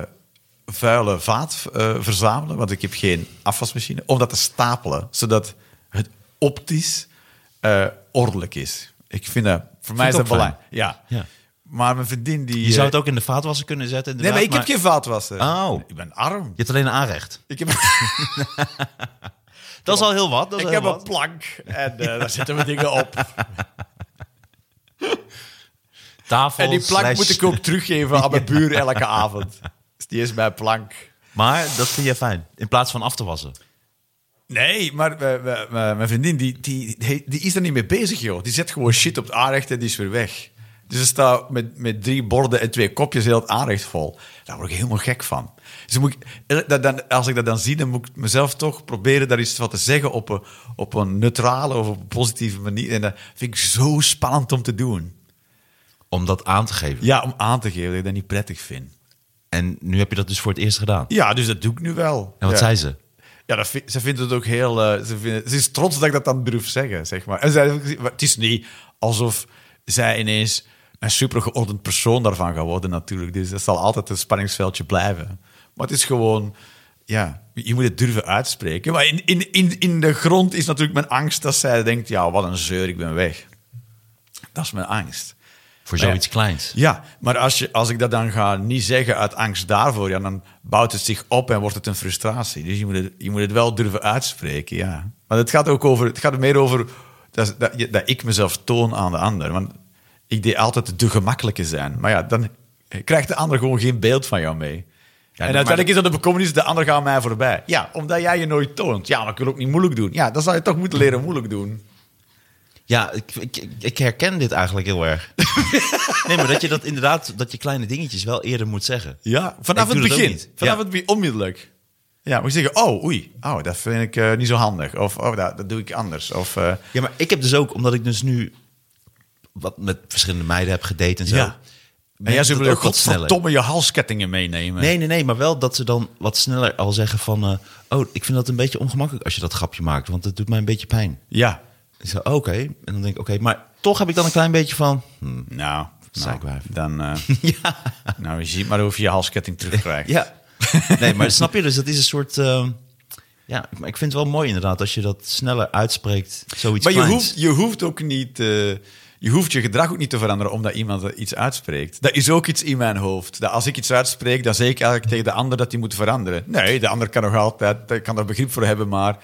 S3: vuile vaat eh, verzamelen, want ik heb geen afwasmachine, om dat te stapelen, zodat het optisch eh, ordelijk is. Ik vind dat, voor mij
S2: ik
S3: is dat
S2: ook fijn.
S3: belangrijk. Ja.
S2: Ja.
S3: Maar mijn vriendin die... eh,
S2: Je zou het ook in de vaatwasser kunnen zetten.
S3: Nee, maar ik
S2: inderdaad,
S3: heb geen vaatwasser.
S2: Oh.
S3: Ik ben arm.
S2: Je hebt alleen een aanrecht.
S3: Ik heb,
S2: Dat is al heel wat. Dat is
S3: ik
S2: al heel
S3: heb
S2: wat.
S3: een plank en eh, daar zetten we dingen op.
S2: tafel.
S3: En die plank
S2: slash-
S3: moet ik ook teruggeven aan mijn buur elke avond. Dus die is mijn plank.
S2: Maar dat vind je fijn. In plaats van af te wassen.
S3: Nee, maar eh, eh, eh, mijn vriendin die, die, die, die is er niet mee bezig, joh. Die zet gewoon shit op het aanrecht en die is weer weg. Dus ze staat met, met drie borden en twee kopjes heel het aanrecht vol. Daar word ik helemaal gek van. Dus dan moet ik, eh, dat, dan, als ik dat dan zie, dan moet ik mezelf toch proberen daar iets van te zeggen op een, op een neutrale of op een positieve manier. En dat vind ik zo spannend om te doen.
S2: Om dat aan te geven.
S3: Ja, om aan te geven dat ik dat niet prettig vind.
S2: En nu heb je dat dus voor het eerst gedaan.
S3: Ja, dus dat doe ik nu wel.
S2: En wat
S3: ja.
S2: zei ze?
S3: Ja, dat vind- ze vindt het ook heel... eh, ze, vindt, ze is trots dat ik dat dan durf zeggen, zeg maar. En zij, heeft ook gezien- maar het is niet alsof zij ineens een supergeordend persoon daarvan gaat worden natuurlijk. Dus dat zal altijd een spanningsveldje blijven. Maar het is gewoon... Ja, je moet het durven uitspreken. Maar in, in, in, in de grond is natuurlijk mijn angst dat zij denkt... Ja, wat een zeur, ik ben weg. Dat is mijn angst.
S2: Voor
S3: Nou Ja.
S2: zoiets kleins.
S3: Ja, maar als, je, als ik dat dan ga niet zeggen uit angst daarvoor, ja, dan bouwt het zich op en wordt het een frustratie. Dus je moet het, je moet het wel durven uitspreken, ja. Maar het gaat ook over, het gaat er meer over dat, dat, je- dat ik mezelf toon aan de ander. Want ik deed altijd de gemakkelijke zijn. Maar ja, dan krijgt de ander gewoon geen beeld van jou mee. en
S2: maar-
S3: uiteindelijk is dat de bekommernis, de ander gaat mij voorbij. Ja, omdat jij je nooit toont. Ja, maar ik wil ook niet moeilijk doen. Ja, dan zou je toch moeten leren moeilijk doen.
S2: Ja, ik, ik, ik- ik herken dit eigenlijk heel erg. nee, maar dat je dat inderdaad, dat je kleine dingetjes wel eerder moet zeggen.
S3: Ja, vanaf
S2: Ik doe
S3: het
S2: dat ook
S3: begin.
S2: niet.
S3: Vanaf
S2: Ja.
S3: het begin, onmiddellijk. Ja, moet je zeggen, oh, oei, oh, dat vind ik eh, niet zo handig. Of, oh, dat, dat doe ik anders. Of, eh,
S2: Ja, maar ik heb dus ook, omdat ik dus nu wat met verschillende meiden heb gedate en zo.
S3: Ja. en
S2: merk ik
S3: jij zou
S2: dat
S3: willen
S2: ook wat sneller.
S3: godverdomme je halskettingen meenemen.
S2: Nee, nee, nee, maar wel dat ze dan wat sneller al zeggen van... eh, oh, ik vind dat een beetje ongemakkelijk als je dat grapje maakt, want het doet mij een beetje pijn.
S3: Ja.
S2: Ik zei, oké. En dan denk ik, oké, maar toch heb ik dan een klein beetje van... hmm,
S3: Nou, nou
S2: Zeikwijf.
S3: dan... eh,
S2: ja,
S3: nou, je ziet maar of je je halsketting terugkrijgt.
S2: ja. Nee, maar snap je? Dus dat is een soort... eh, ja, maar ik vind het wel mooi inderdaad als je dat sneller uitspreekt. Zoiets
S3: Maar je
S2: kleins.
S3: hoeft, je hoeft ook niet... eh, je hoeft je gedrag ook niet te veranderen omdat iemand er iets uitspreekt. Dat is ook iets in mijn hoofd. Dat als ik iets uitspreek, dan zeg ik eigenlijk tegen de ander dat die moet veranderen. Nee, de ander kan nog altijd... daar kan er begrip voor hebben, maar...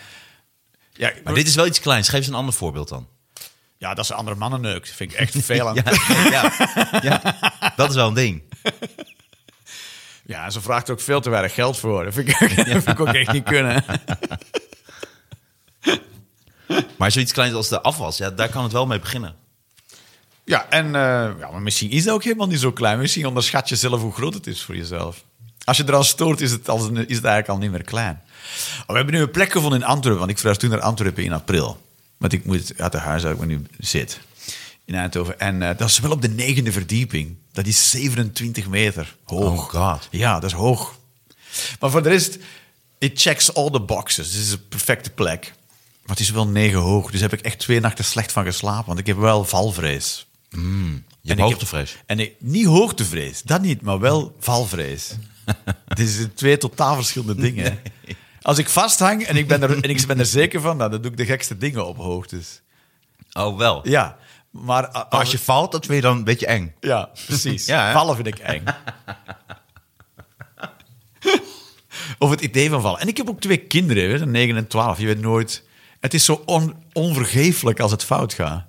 S3: Ja,
S2: Maar dit is wel iets kleins. Geef eens een ander voorbeeld dan.
S3: Ja, dat ze andere mannen neukt. Vind ik echt veel aan.
S2: Ja,
S3: ja.
S2: ja, ja, dat is wel een ding.
S3: en ze vraagt er ook veel te weinig geld voor. Dat vind ik, ook- dat vind ik ook echt niet kunnen.
S2: Maar zoiets kleins als de afwas, ja, daar kan het wel mee beginnen.
S3: Ja, en eh, ja, maar misschien is dat ook helemaal niet zo klein. Misschien onderschat je zelf hoe groot het is voor jezelf. Als je eraan stoort, is het, als een, is het eigenlijk al niet meer klein. Maar we hebben nu een plek gevonden in Antwerpen. Want ik verhuis toen naar Antwerpen in april. Want ik moet uit de huis waar ik nu zit. In Eindhoven. En eh, dat is wel op de negende verdieping. Dat is 27 meter hoog.
S2: Oh god.
S3: Ja, dat is hoog. Maar voor de rest, it checks all the boxes. Dit is een perfecte plek. Maar het is wel negen hoog, dus heb ik echt twee nachten slecht van geslapen. Want ik heb wel valvrees.
S2: Je hebt
S3: ik
S2: hoogtevrees.
S3: heb- en ik, niet hoogtevrees, dat niet, maar wel valvrees. Het is twee totaal verschillende dingen. hè. Als ik vasthang en ik ben er, en ik ben er zeker van, nou, dan doe ik de gekste dingen op hoogtes.
S2: Oh, wel. Oh,
S3: Ja, maar ah, a-
S2: Als je valt, dat vind je dan een beetje eng.
S3: ja, precies.
S2: Ja, hè?
S3: vallen vind ik eng. of het idee van vallen. En ik heb ook twee kinderen, hè, 9 en 12. Je weet nooit. Het is zo on, onvergeeflijk als het fout gaat.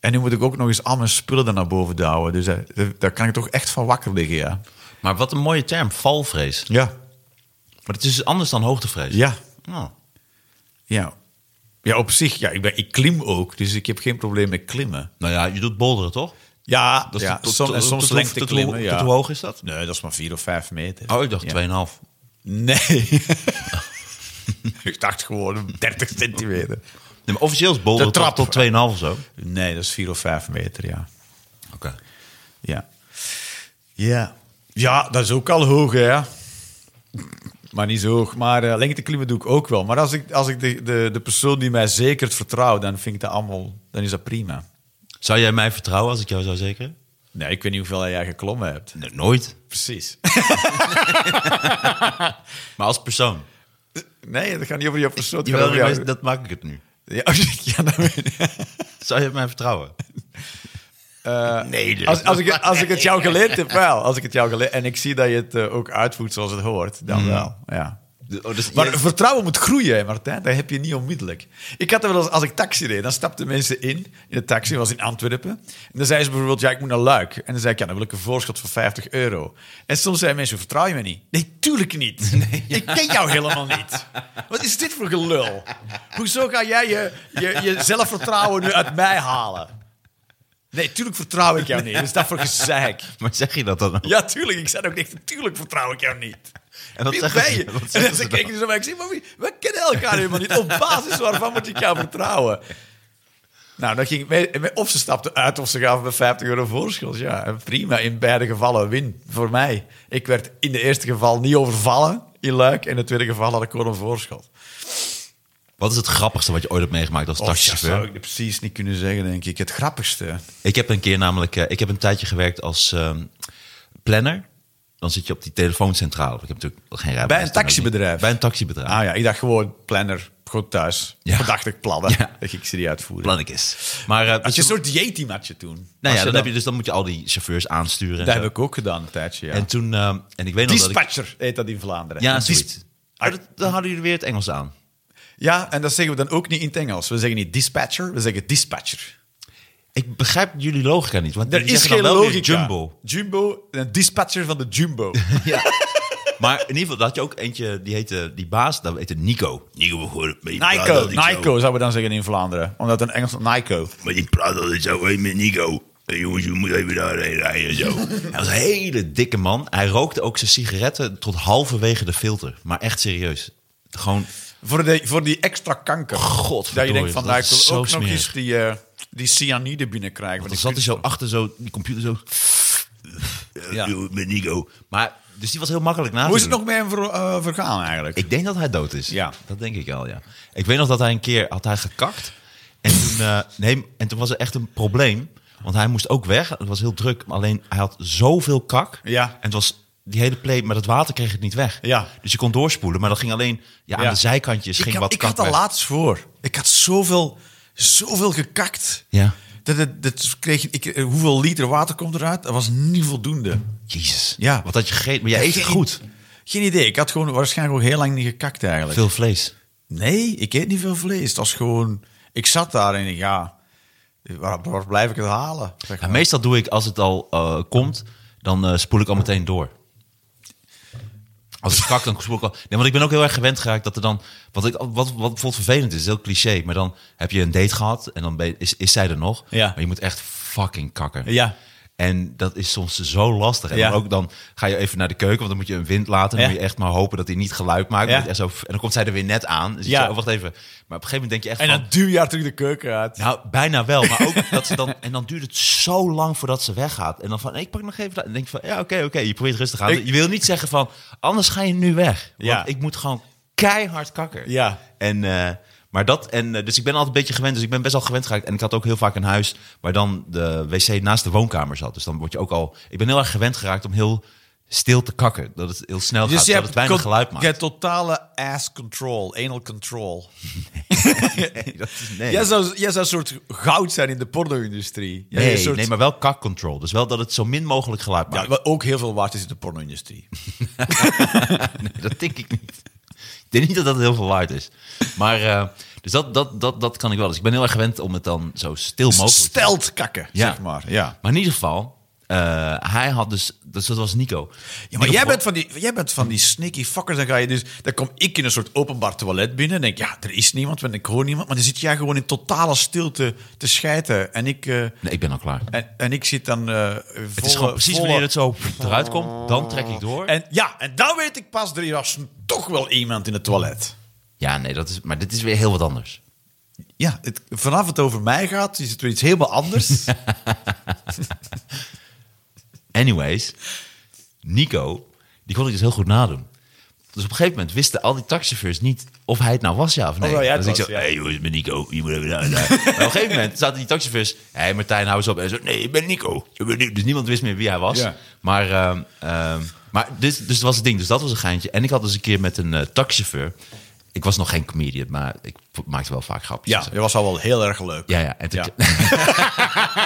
S3: En nu moet ik ook nog eens al mijn spullen daar naar boven duwen. Dus eh, daar- daar kan ik toch echt van wakker liggen, ja.
S2: Maar wat een mooie term, valvrees.
S3: Ja.
S2: Maar het is dus anders dan hoogtevrees.
S3: Ja.
S2: Oh.
S3: Ja, ja op zich. Ja, ik, ben, ik klim ook, dus ik heb geen probleem met klimmen.
S2: Nou ja, je doet bolderen, toch?
S3: Ja,
S2: Dat is
S3: ja
S2: tot- tot-
S3: som- en
S2: tot-
S3: soms
S2: tot hoe-
S3: lengte
S2: tot hoe-
S3: klimmen, ja.
S2: tot hoe hoog is dat?
S3: Nee, dat is maar vier of vijf meter.
S2: Oh, ik dacht
S3: Ja.
S2: 2,5.
S3: Nee. ik dacht gewoon 30 centimeter.
S2: Nee, maar officieel is bolderen
S3: De trap.
S2: tot, tot 2,5 of zo. Oké.
S3: Nee, dat is 4 of 5 meter, ja. Ja. Ja. Ja, dat is ook al hoog, hè. ja. Maar niet zo hoog. Maar eh lengte klimmen doe ik ook wel. Maar als ik, als ik de, de, de persoon die mij zeker vertrouwt, dan vind ik dat allemaal... Dan is dat prima.
S2: Zou jij mij vertrouwen als ik jou zou zekeren?
S3: Nee, ik weet niet hoeveel jij geklommen hebt.
S2: Nee, nooit.
S3: Precies.
S2: Maar als persoon.
S3: Nee, dat gaat niet over jouw persoon. het gaat
S2: Jawel,
S3: over jou.
S2: maar dat maak ik het nu.
S3: Ja, ja, dat weet ik.
S2: Zou je op mij vertrouwen?
S3: Eh,
S2: nee, dus.
S3: Als, als, ik, als ik het jou geleerd heb, wel. Als ik het jou geleerd En ik zie dat je het eh, ook uitvoert zoals het hoort, dan wel. Ja.
S2: Oh, dus
S3: Maar
S2: jij-
S3: vertrouwen moet groeien, hè, Martijn. Dat heb je niet onmiddellijk. Ik had er wel eens, als ik taxi reed, dan stapten mensen in, in de taxi, was in Antwerpen. En dan zeiden ze bijvoorbeeld, ja, ik moet naar Luik. En dan zei ik, ja, dan wil ik een voorschot van 50 euro. En soms zeiden mensen, vertrouw je me niet? Nee, tuurlijk niet. Ik ken jou helemaal niet. Wat is dit voor gelul? Hoezo ga jij je, je, je zelfvertrouwen nu uit mij halen? Nee, tuurlijk vertrouw ik jou niet. Wat is dat voor gezeik?
S2: Maar zeg je dat dan ook?
S3: Ja, tuurlijk. Ik zei ook echt, tuurlijk vertrouw ik jou niet.
S2: En wat
S3: Wie
S2: zeggen
S3: ben
S2: ze-
S3: je?
S2: wat zeggen
S3: en dan
S2: ze
S3: ze
S2: dan?
S3: kijken ze naar mij. Ik zeg, maar wie- we kennen elkaar helemaal niet. Op basis waarvan moet ik jou vertrouwen? Nou, dan ging me- me- of ze stapten uit of ze gaven me 50 euro voorschot. Ja, en prima. In beide gevallen win voor mij. Ik werd in het eerste geval niet overvallen in Luik. In het tweede geval had ik gewoon een voorschot.
S2: Wat is het grappigste wat je ooit hebt meegemaakt als
S3: Och, Oh, dat
S2: taxichauffeur?
S3: zou ik precies niet kunnen zeggen, denk ik. Het grappigste.
S2: Ik heb een keer namelijk, eh, ik heb een tijdje gewerkt als ehm, planner. Dan zit je op die telefooncentrale. Ik heb natuurlijk geen rijbewijs.
S3: Bij een
S2: dan ook
S3: taxibedrijf?
S2: niet. Bij een taxibedrijf.
S3: Ah ja, ik dacht gewoon planner, goed thuis.
S2: Ja.
S3: Verdachtig plannen.
S2: Ja.
S3: Dat ik ze niet uitvoeren.
S2: Plannekes. Maar eh,
S3: Had je
S2: dus-
S3: een soort dieetteamatje toen?
S2: nou ja,
S3: Als
S2: dan,
S3: dan-
S2: heb je dus dan moet je al die chauffeurs aansturen. en
S3: Dat
S2: zo.
S3: heb ik ook gedaan een tijdje, ja.
S2: En toen, ehm, en ik weet nog dat ik...
S3: Dispatcher heet dat in Vlaanderen.
S2: Ja,
S3: Een
S2: zoiets.
S3: dis-
S2: Maar dat- dan hadden jullie weer het Engels aan.
S3: Ja, en dat zeggen we dan ook niet in het Engels. We zeggen niet dispatcher, we zeggen dispatcher.
S2: Ik begrijp jullie logica niet. Want
S3: Er
S2: jullie
S3: is
S2: zeggen
S3: geen
S2: dan wel weer
S3: logica.
S2: Jumbo.
S3: Jumbo, een dispatcher van de Jumbo.
S2: Ja. maar in ieder geval, daar had je ook eentje, die heette, die baas, dat heette Nico. Nico, we horen- maar je praat
S3: Nico,
S2: altijd zo.
S3: Nico zouden we dan zeggen in Vlaanderen. Omdat een Engels... Nico.
S2: Maar ik praat altijd zo hé, met Nico. Hé, jongens, je moet even daarheen rijden en zo. Hij was een hele dikke man. Hij rookte ook zijn sigaretten tot halverwege de filter. Maar echt serieus. Gewoon,
S3: Voor, de, voor die extra kanker.
S2: Godverdorie,
S3: Dat je denkt van,
S2: dat
S3: nou, ik
S2: is
S3: wil
S2: zo
S3: ook nog
S2: smerig.
S3: eens die, eh, die cyanide binnenkrijgen. want
S2: dan
S3: ik
S2: zat hij
S3: vind-
S2: zo achter zo, die computer zo.
S3: Ja.
S2: Ja. Met Nico. Maar, dus die was heel makkelijk na te
S3: Hoe is het
S2: doen.
S3: nog met hem ver- eh, vergaan eigenlijk?
S2: Ik denk dat hij dood is.
S3: Ja.
S2: Dat denk ik wel, ja. Ik weet nog dat hij een keer had hij gekakt. En toen, eh, nee, en toen was er echt een probleem. Want hij moest ook weg. Het was heel druk. Maar alleen, hij had zoveel kak.
S3: Ja.
S2: En het was die hele play, maar het water kreeg het niet weg.
S3: Ja.
S2: Dus je kon doorspoelen. Maar dat ging alleen ja, aan
S3: Ja.
S2: de zijkantjes ging
S3: ik had,
S2: wat
S3: ik
S2: kak
S3: had er
S2: weg.
S3: laatst voor. Ik had zoveel, zoveel gekakt.
S2: Ja.
S3: Dat, het- dat kreeg, ik, eh, hoeveel liter water komt eruit? Dat was niet voldoende.
S2: Jezus.
S3: Ja.
S2: Wat had je gegeten? Maar jij eet
S3: Geen-
S2: goed.
S3: Geen idee. Ik had gewoon waarschijnlijk ook heel lang niet gekakt eigenlijk.
S2: Veel vlees.
S3: Nee, ik eet niet veel vlees. Dat was gewoon... Ik zat daar en ik, ja... Waar, waar blijf ik het halen? Zeg
S2: Ja,
S3: maar.
S2: meestal doe ik, als het al eh, komt, dan eh, spoel ik al meteen door. Als het kak, dan spoel ik al... Nee, want ik ben ook heel erg gewend geraakt dat er dan... Wat, ik, wat, wat bijvoorbeeld vervelend is, is heel cliché. Maar dan heb je een date gehad en dan ben je- is, is zij er nog.
S3: Ja.
S2: Maar je moet echt fucking kakken.
S3: Ja.
S2: En dat is soms zo lastig. En
S3: Ja.
S2: dan, ook, dan ga je even naar de keuken, want dan moet je een wind laten. Dan
S3: Ja.
S2: moet je echt maar hopen dat hij niet geluid maakt.
S3: Ja.
S2: Dan moet je echt zo, en dan komt zij er weer net aan. Dus
S3: Ja.
S2: ja. wacht even. Maar op een gegeven moment denk je echt
S3: En
S2: van...
S3: dan duw je haar terug de keuken uit.
S2: Nou, bijna wel. Maar ook dat ze dan. En dan duurt het zo lang voordat ze weggaat. En dan van. Ik pak nog even. dat. En denk van. Ja, oké, oké. Je probeert rustig aan.
S3: Ik-
S2: Je wil niet zeggen van. Anders ga je nu weg. Want
S3: Ja.
S2: ik moet gewoon keihard kakken.
S3: Ja.
S2: En. eh, maar dat. En, eh, dus ik ben altijd een beetje gewend. Dus ik ben best wel gewend geraakt. En ik had ook heel vaak een huis. waar dan de wc naast de woonkamer zat. Dus dan word je ook al. Ik ben heel erg gewend geraakt om heel stil te kakken. Dat het heel snel gaat. Dat het weinig
S3: con-
S2: geluid maakt.
S3: je Dus hebt totale ass control, anal control.
S2: Dat is- nee.
S3: Jij, zou, jij zou een soort goud zijn in de porno-industrie. Jij
S2: Nee,
S3: een soort-
S2: nee, maar wel kakcontrol. Dus wel dat het zo min mogelijk geluid maakt.
S3: Ja, wat ook heel veel waard is in de porno-industrie.
S2: dat denk ik niet. Ik denk niet dat dat heel veel waard is. Maar eh, dus dat, dat, dat, dat kan ik wel. Dus ik ben heel erg gewend om het dan zo stil mogelijk te
S3: Stelt kakken,
S2: Ja.
S3: zeg maar. Ja.
S2: Maar in ieder geval, eh, hij had dus... Dus dat was Nico.
S3: Ja, maar
S2: Nico
S3: jij
S2: Bro-
S3: bent, van die, jij bent van die sneaky fuckers. Dan, ga je dus, dan kom ik in een soort openbaar toilet binnen. En denk, ja, er is niemand, want ik hoor niemand. Maar dan zit jij gewoon in totale stilte te schijten. En ik, eh,
S2: Nee, ik ben al klaar.
S3: en, en ik zit dan. eh
S2: Het is gewoon precies wanneer het zo eruit komt. Dan trek ik door.
S3: En ja, en dan weet ik pas, er was toch wel iemand in het toilet.
S2: Ja, nee, dat is, maar dit is weer heel wat anders.
S3: Ja, het, vanaf het over mij gaat, is het weer iets helemaal anders.
S2: Anyways, Nico, die kon ik dus heel goed nadoen. Dus op een gegeven moment wisten al die taxichauffeurs niet of hij het nou was, ja of nee.
S4: wel jij
S2: dan
S4: het
S2: zeg ik
S4: was,
S2: zo,
S4: ja.
S2: hey jongens, ik ben Nico. Je moet even daar, daar. Maar op een gegeven moment zaten die taxifus, hé hey, Martijn, hou eens op. En zo, nee, ik ben Nico. Ik ben Nico. Dus niemand wist meer wie hij was.
S3: Ja.
S2: Maar, ehm, ehm, maar dit, dus dat was het ding. Dus dat was een geintje. En ik had dus een keer met een eh, taxichauffeur. Ik was nog geen comedian, maar ik maakte wel vaak grapjes. en
S3: Ja,
S2: zo.
S3: dat was al wel heel erg leuk.
S2: Ja, ja. En toen,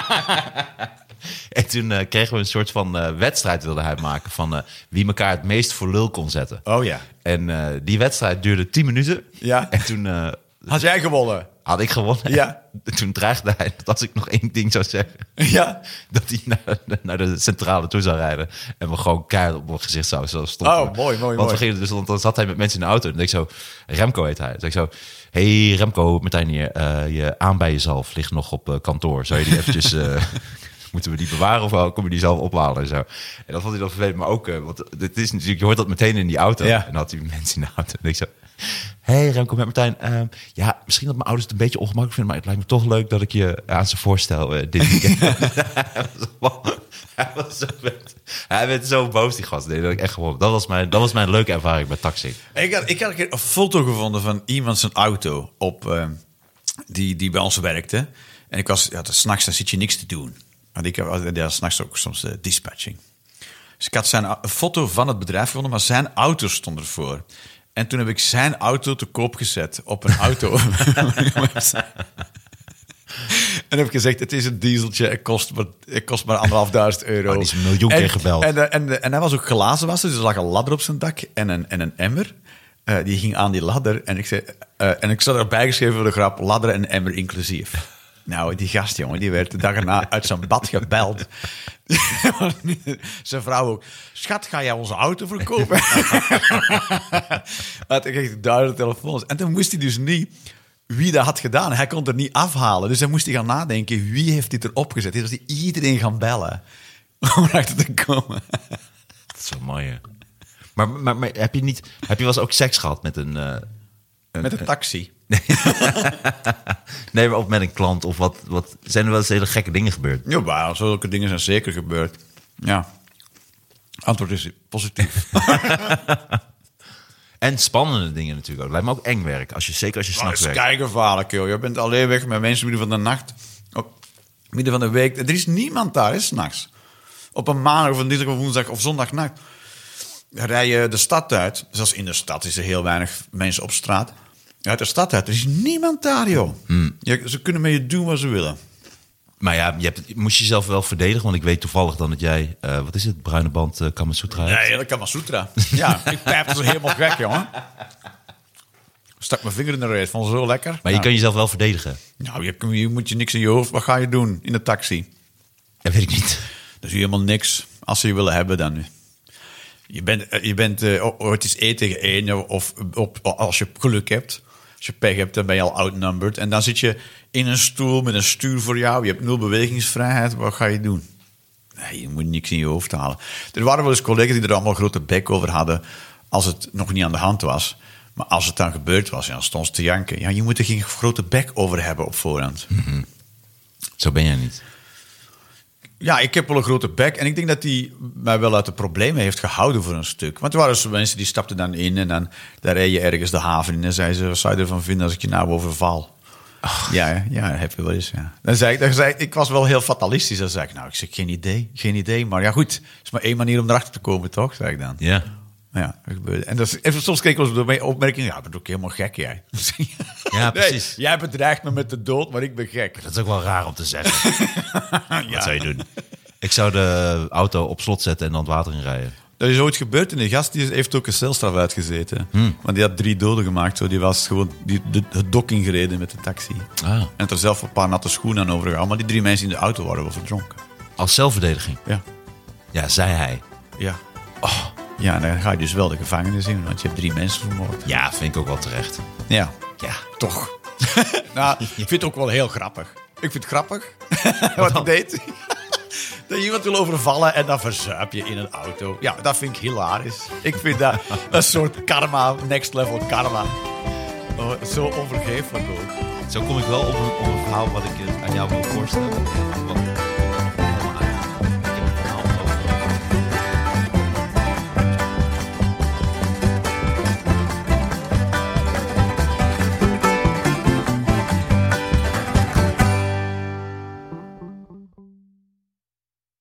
S2: en toen eh, kregen we een soort van eh, wedstrijd wilde hij maken van eh, wie elkaar het meest voor lul kon zetten.
S3: Oh ja.
S2: En eh, die wedstrijd duurde 10 minuten.
S3: Ja.
S2: En toen eh,
S3: Had jij gewonnen?
S2: had ik gewonnen.
S3: Ja.
S2: En toen dreigde hij dat als ik nog één ding zou zeggen,
S3: Ja.
S2: dat hij naar, naar de centrale toe zou rijden. En we gewoon keihard op mijn gezicht zouden zouden stoppen.
S3: Oh, mooi, mooi,
S2: Want
S3: mooi.
S2: we gingen dus, want dan zat hij met mensen in de auto. En dan denk ik zo, Remco heet hij. Dan zeg ik zo, hey Remco, Martijn hier. eh, je aan bij jezelf ligt nog op eh, kantoor. Zou je die eventjes... eh, Moeten we die bewaren of wel? kom je die zelf ophalen en zo? En dat vond hij dan vervelend, maar ook, eh, want dit is natuurlijk, je hoort dat meteen in die auto.
S3: Ja.
S2: En dan had hij mensen in de auto. En ik zo, hey Remco met Martijn. ehm, ja, misschien dat mijn ouders het een beetje ongemakkelijk vinden, maar het lijkt me toch leuk dat ik je aan ze voorstel eh, dit weekend. hij, was, hij, was zo vet. hij werd zo boos, die gast. Nee, dat ik echt gewonnen. Dat was mijn, dat was mijn leuke ervaring met taxi.
S3: Ik had, ik had een keer een foto gevonden van iemand zijn auto op, ehm, die, die bij ons werkte. En ik was, ja, 's nachts dan zit je niks te doen. Want ik had ja, 's nachts ook soms eh, dispatching. Dus ik had zijn, au- een foto van het bedrijf gevonden, maar zijn auto stond ervoor. En toen heb ik zijn auto te koop gezet op een auto. En heb ik gezegd, het is een dieseltje, het kost maar, het kost maar anderhalfduizend euro.
S2: Oh, die is een miljoen
S3: en,
S2: keer gebeld.
S3: En, eh, en, eh, en hij was ook glazen wassen, dus er lag een ladder op zijn dak en een, en een emmer. Eh, die ging aan die ladder en ik, zei, eh, en ik zat erbij geschreven voor de grap, ladder en emmer inclusief. Nou, die gast, jongen, die werd de dag erna uit zijn bad gebeld. zijn vrouw ook. Schat, ga jij onze auto verkopen? Maar toen kreeg ik duizend telefoons. En toen wist hij dus niet wie dat had gedaan. Hij kon het er niet afhalen. Dus dan moest hij gaan nadenken, wie heeft dit erop gezet? Dus hij iedereen gaan bellen om erachter te komen.
S2: Dat is wel mooi, hè. Maar, maar, maar heb je niet, heb je wel eens ook seks gehad met een, eh,
S3: Met een taxi.
S2: nee, maar of met een klant of wat, wat, zijn er wel eens hele gekke dingen gebeurd?
S3: Ja, maar zulke dingen zijn zeker gebeurd. Ja. Antwoord is positief.
S2: En spannende dingen natuurlijk ook. Lijkt me ook eng werk, als je, zeker als je
S3: Oh, Dat
S2: s'nachts
S3: is
S2: werkt.
S3: keigevaarlijk, joh. Je bent alleen weg met mensen midden van de nacht. Op midden van de week. Er is niemand daar, hè, s'nachts. Op een maandag of een dinsdag of woensdag of zondagnacht. Dan rij je de stad uit. Zelfs in de stad is er heel weinig mensen op straat. Uit de stad uit. Er is niemand daar, joh.
S2: Hmm.
S3: Je- ze kunnen met je doen wat ze willen.
S2: Maar ja, je hebt, moest je jezelf wel verdedigen, want ik weet toevallig dan dat jij, eh, wat is het, bruine band uh, Kamasutra hebt.
S3: Ja, dat kan maar Sutra. Ja, ik pijp ze helemaal gek, jongen. Stak mijn vinger in de reet. Vond ze zo lekker.
S2: Maar je
S3: Ja.
S2: kan jezelf wel verdedigen.
S3: Nou, je, je moet je niks in je hoofd. Wat ga je doen in de taxi?
S2: Dat weet ik niet.
S3: Dan zie je helemaal niks. Als ze je willen hebben, dan. Je bent, eh, je bent eh, o- ooit eens één tegen één. eh, Of op, als je geluk hebt. Als je pech hebt, dan ben je al outnumbered. En dan zit je in een stoel met een stuur voor jou. Je hebt nul bewegingsvrijheid. Wat ga je doen? Nee, je moet niks in je hoofd halen. Er waren wel eens collega's die er allemaal grote bek over hadden. als het nog niet aan de hand was. Maar als het dan gebeurd was, ja, dan stond ze te janken. Ja, je moet er geen grote bek over hebben op voorhand.
S2: Zo ben jij niet.
S3: Ja, ik heb wel een grote bek. En ik denk dat hij mij wel uit de problemen heeft gehouden voor een stuk. Want er waren zo mensen die stapten dan in en dan daar reed je ergens de haven in. En zei ze, wat zou je ervan vinden als ik je nou overval? Ja, hè? ja, dat heb je wel eens. Ja. Dan zei ik, dan zei ik, ik was wel heel fatalistisch. Dan zei ik, nou, ik zeg geen idee, geen idee. Maar ja, goed, is maar één manier om erachter te komen, toch? Zei ik dan.
S2: Ja.
S3: Maar ja, dat gebeurde. En, dat is- en soms kreeg ik wel eens de opmerking, ja, dat doe ik helemaal gek, jij.
S2: Ja, precies.
S3: Nee, jij bedreigt me met de dood, maar ik ben gek.
S2: Dat is ook wel raar om te zeggen. Wat zou je doen? Ik zou de auto op slot zetten en dan het water in rijden.
S3: Dat is ooit gebeurd en die gast die heeft ook een celstraf uitgezeten.
S2: Hmm.
S3: Want die had drie doden gemaakt. Zo. Die was gewoon die, de, het dok ingereden met de taxi.
S2: Ah.
S3: En had er zelf een paar natte schoenen aan overgehaald. Maar die drie mensen in de auto waren wel verdronken.
S2: Als zelfverdediging.
S3: Ja.
S2: Ja, Oh. zei hij.
S3: Ja. Ja, en dan ga je dus wel de gevangenis in, want je hebt drie mensen vermoord.
S2: Ja, vind ik ook wel terecht.
S3: Ja.
S2: Ja.
S3: Toch. nou, ik vind het ook wel heel grappig. Ik vind het grappig wat hij deed. dat je iemand wil overvallen en dan verzuip je in een auto. Ja, dat vind ik hilarisch. Ik vind dat een soort karma, next level karma. Oh, zo onvergeeflijk ook.
S2: Zo kom ik wel op een, op een verhaal wat ik eh, aan jou wil voorstellen. Want, eh,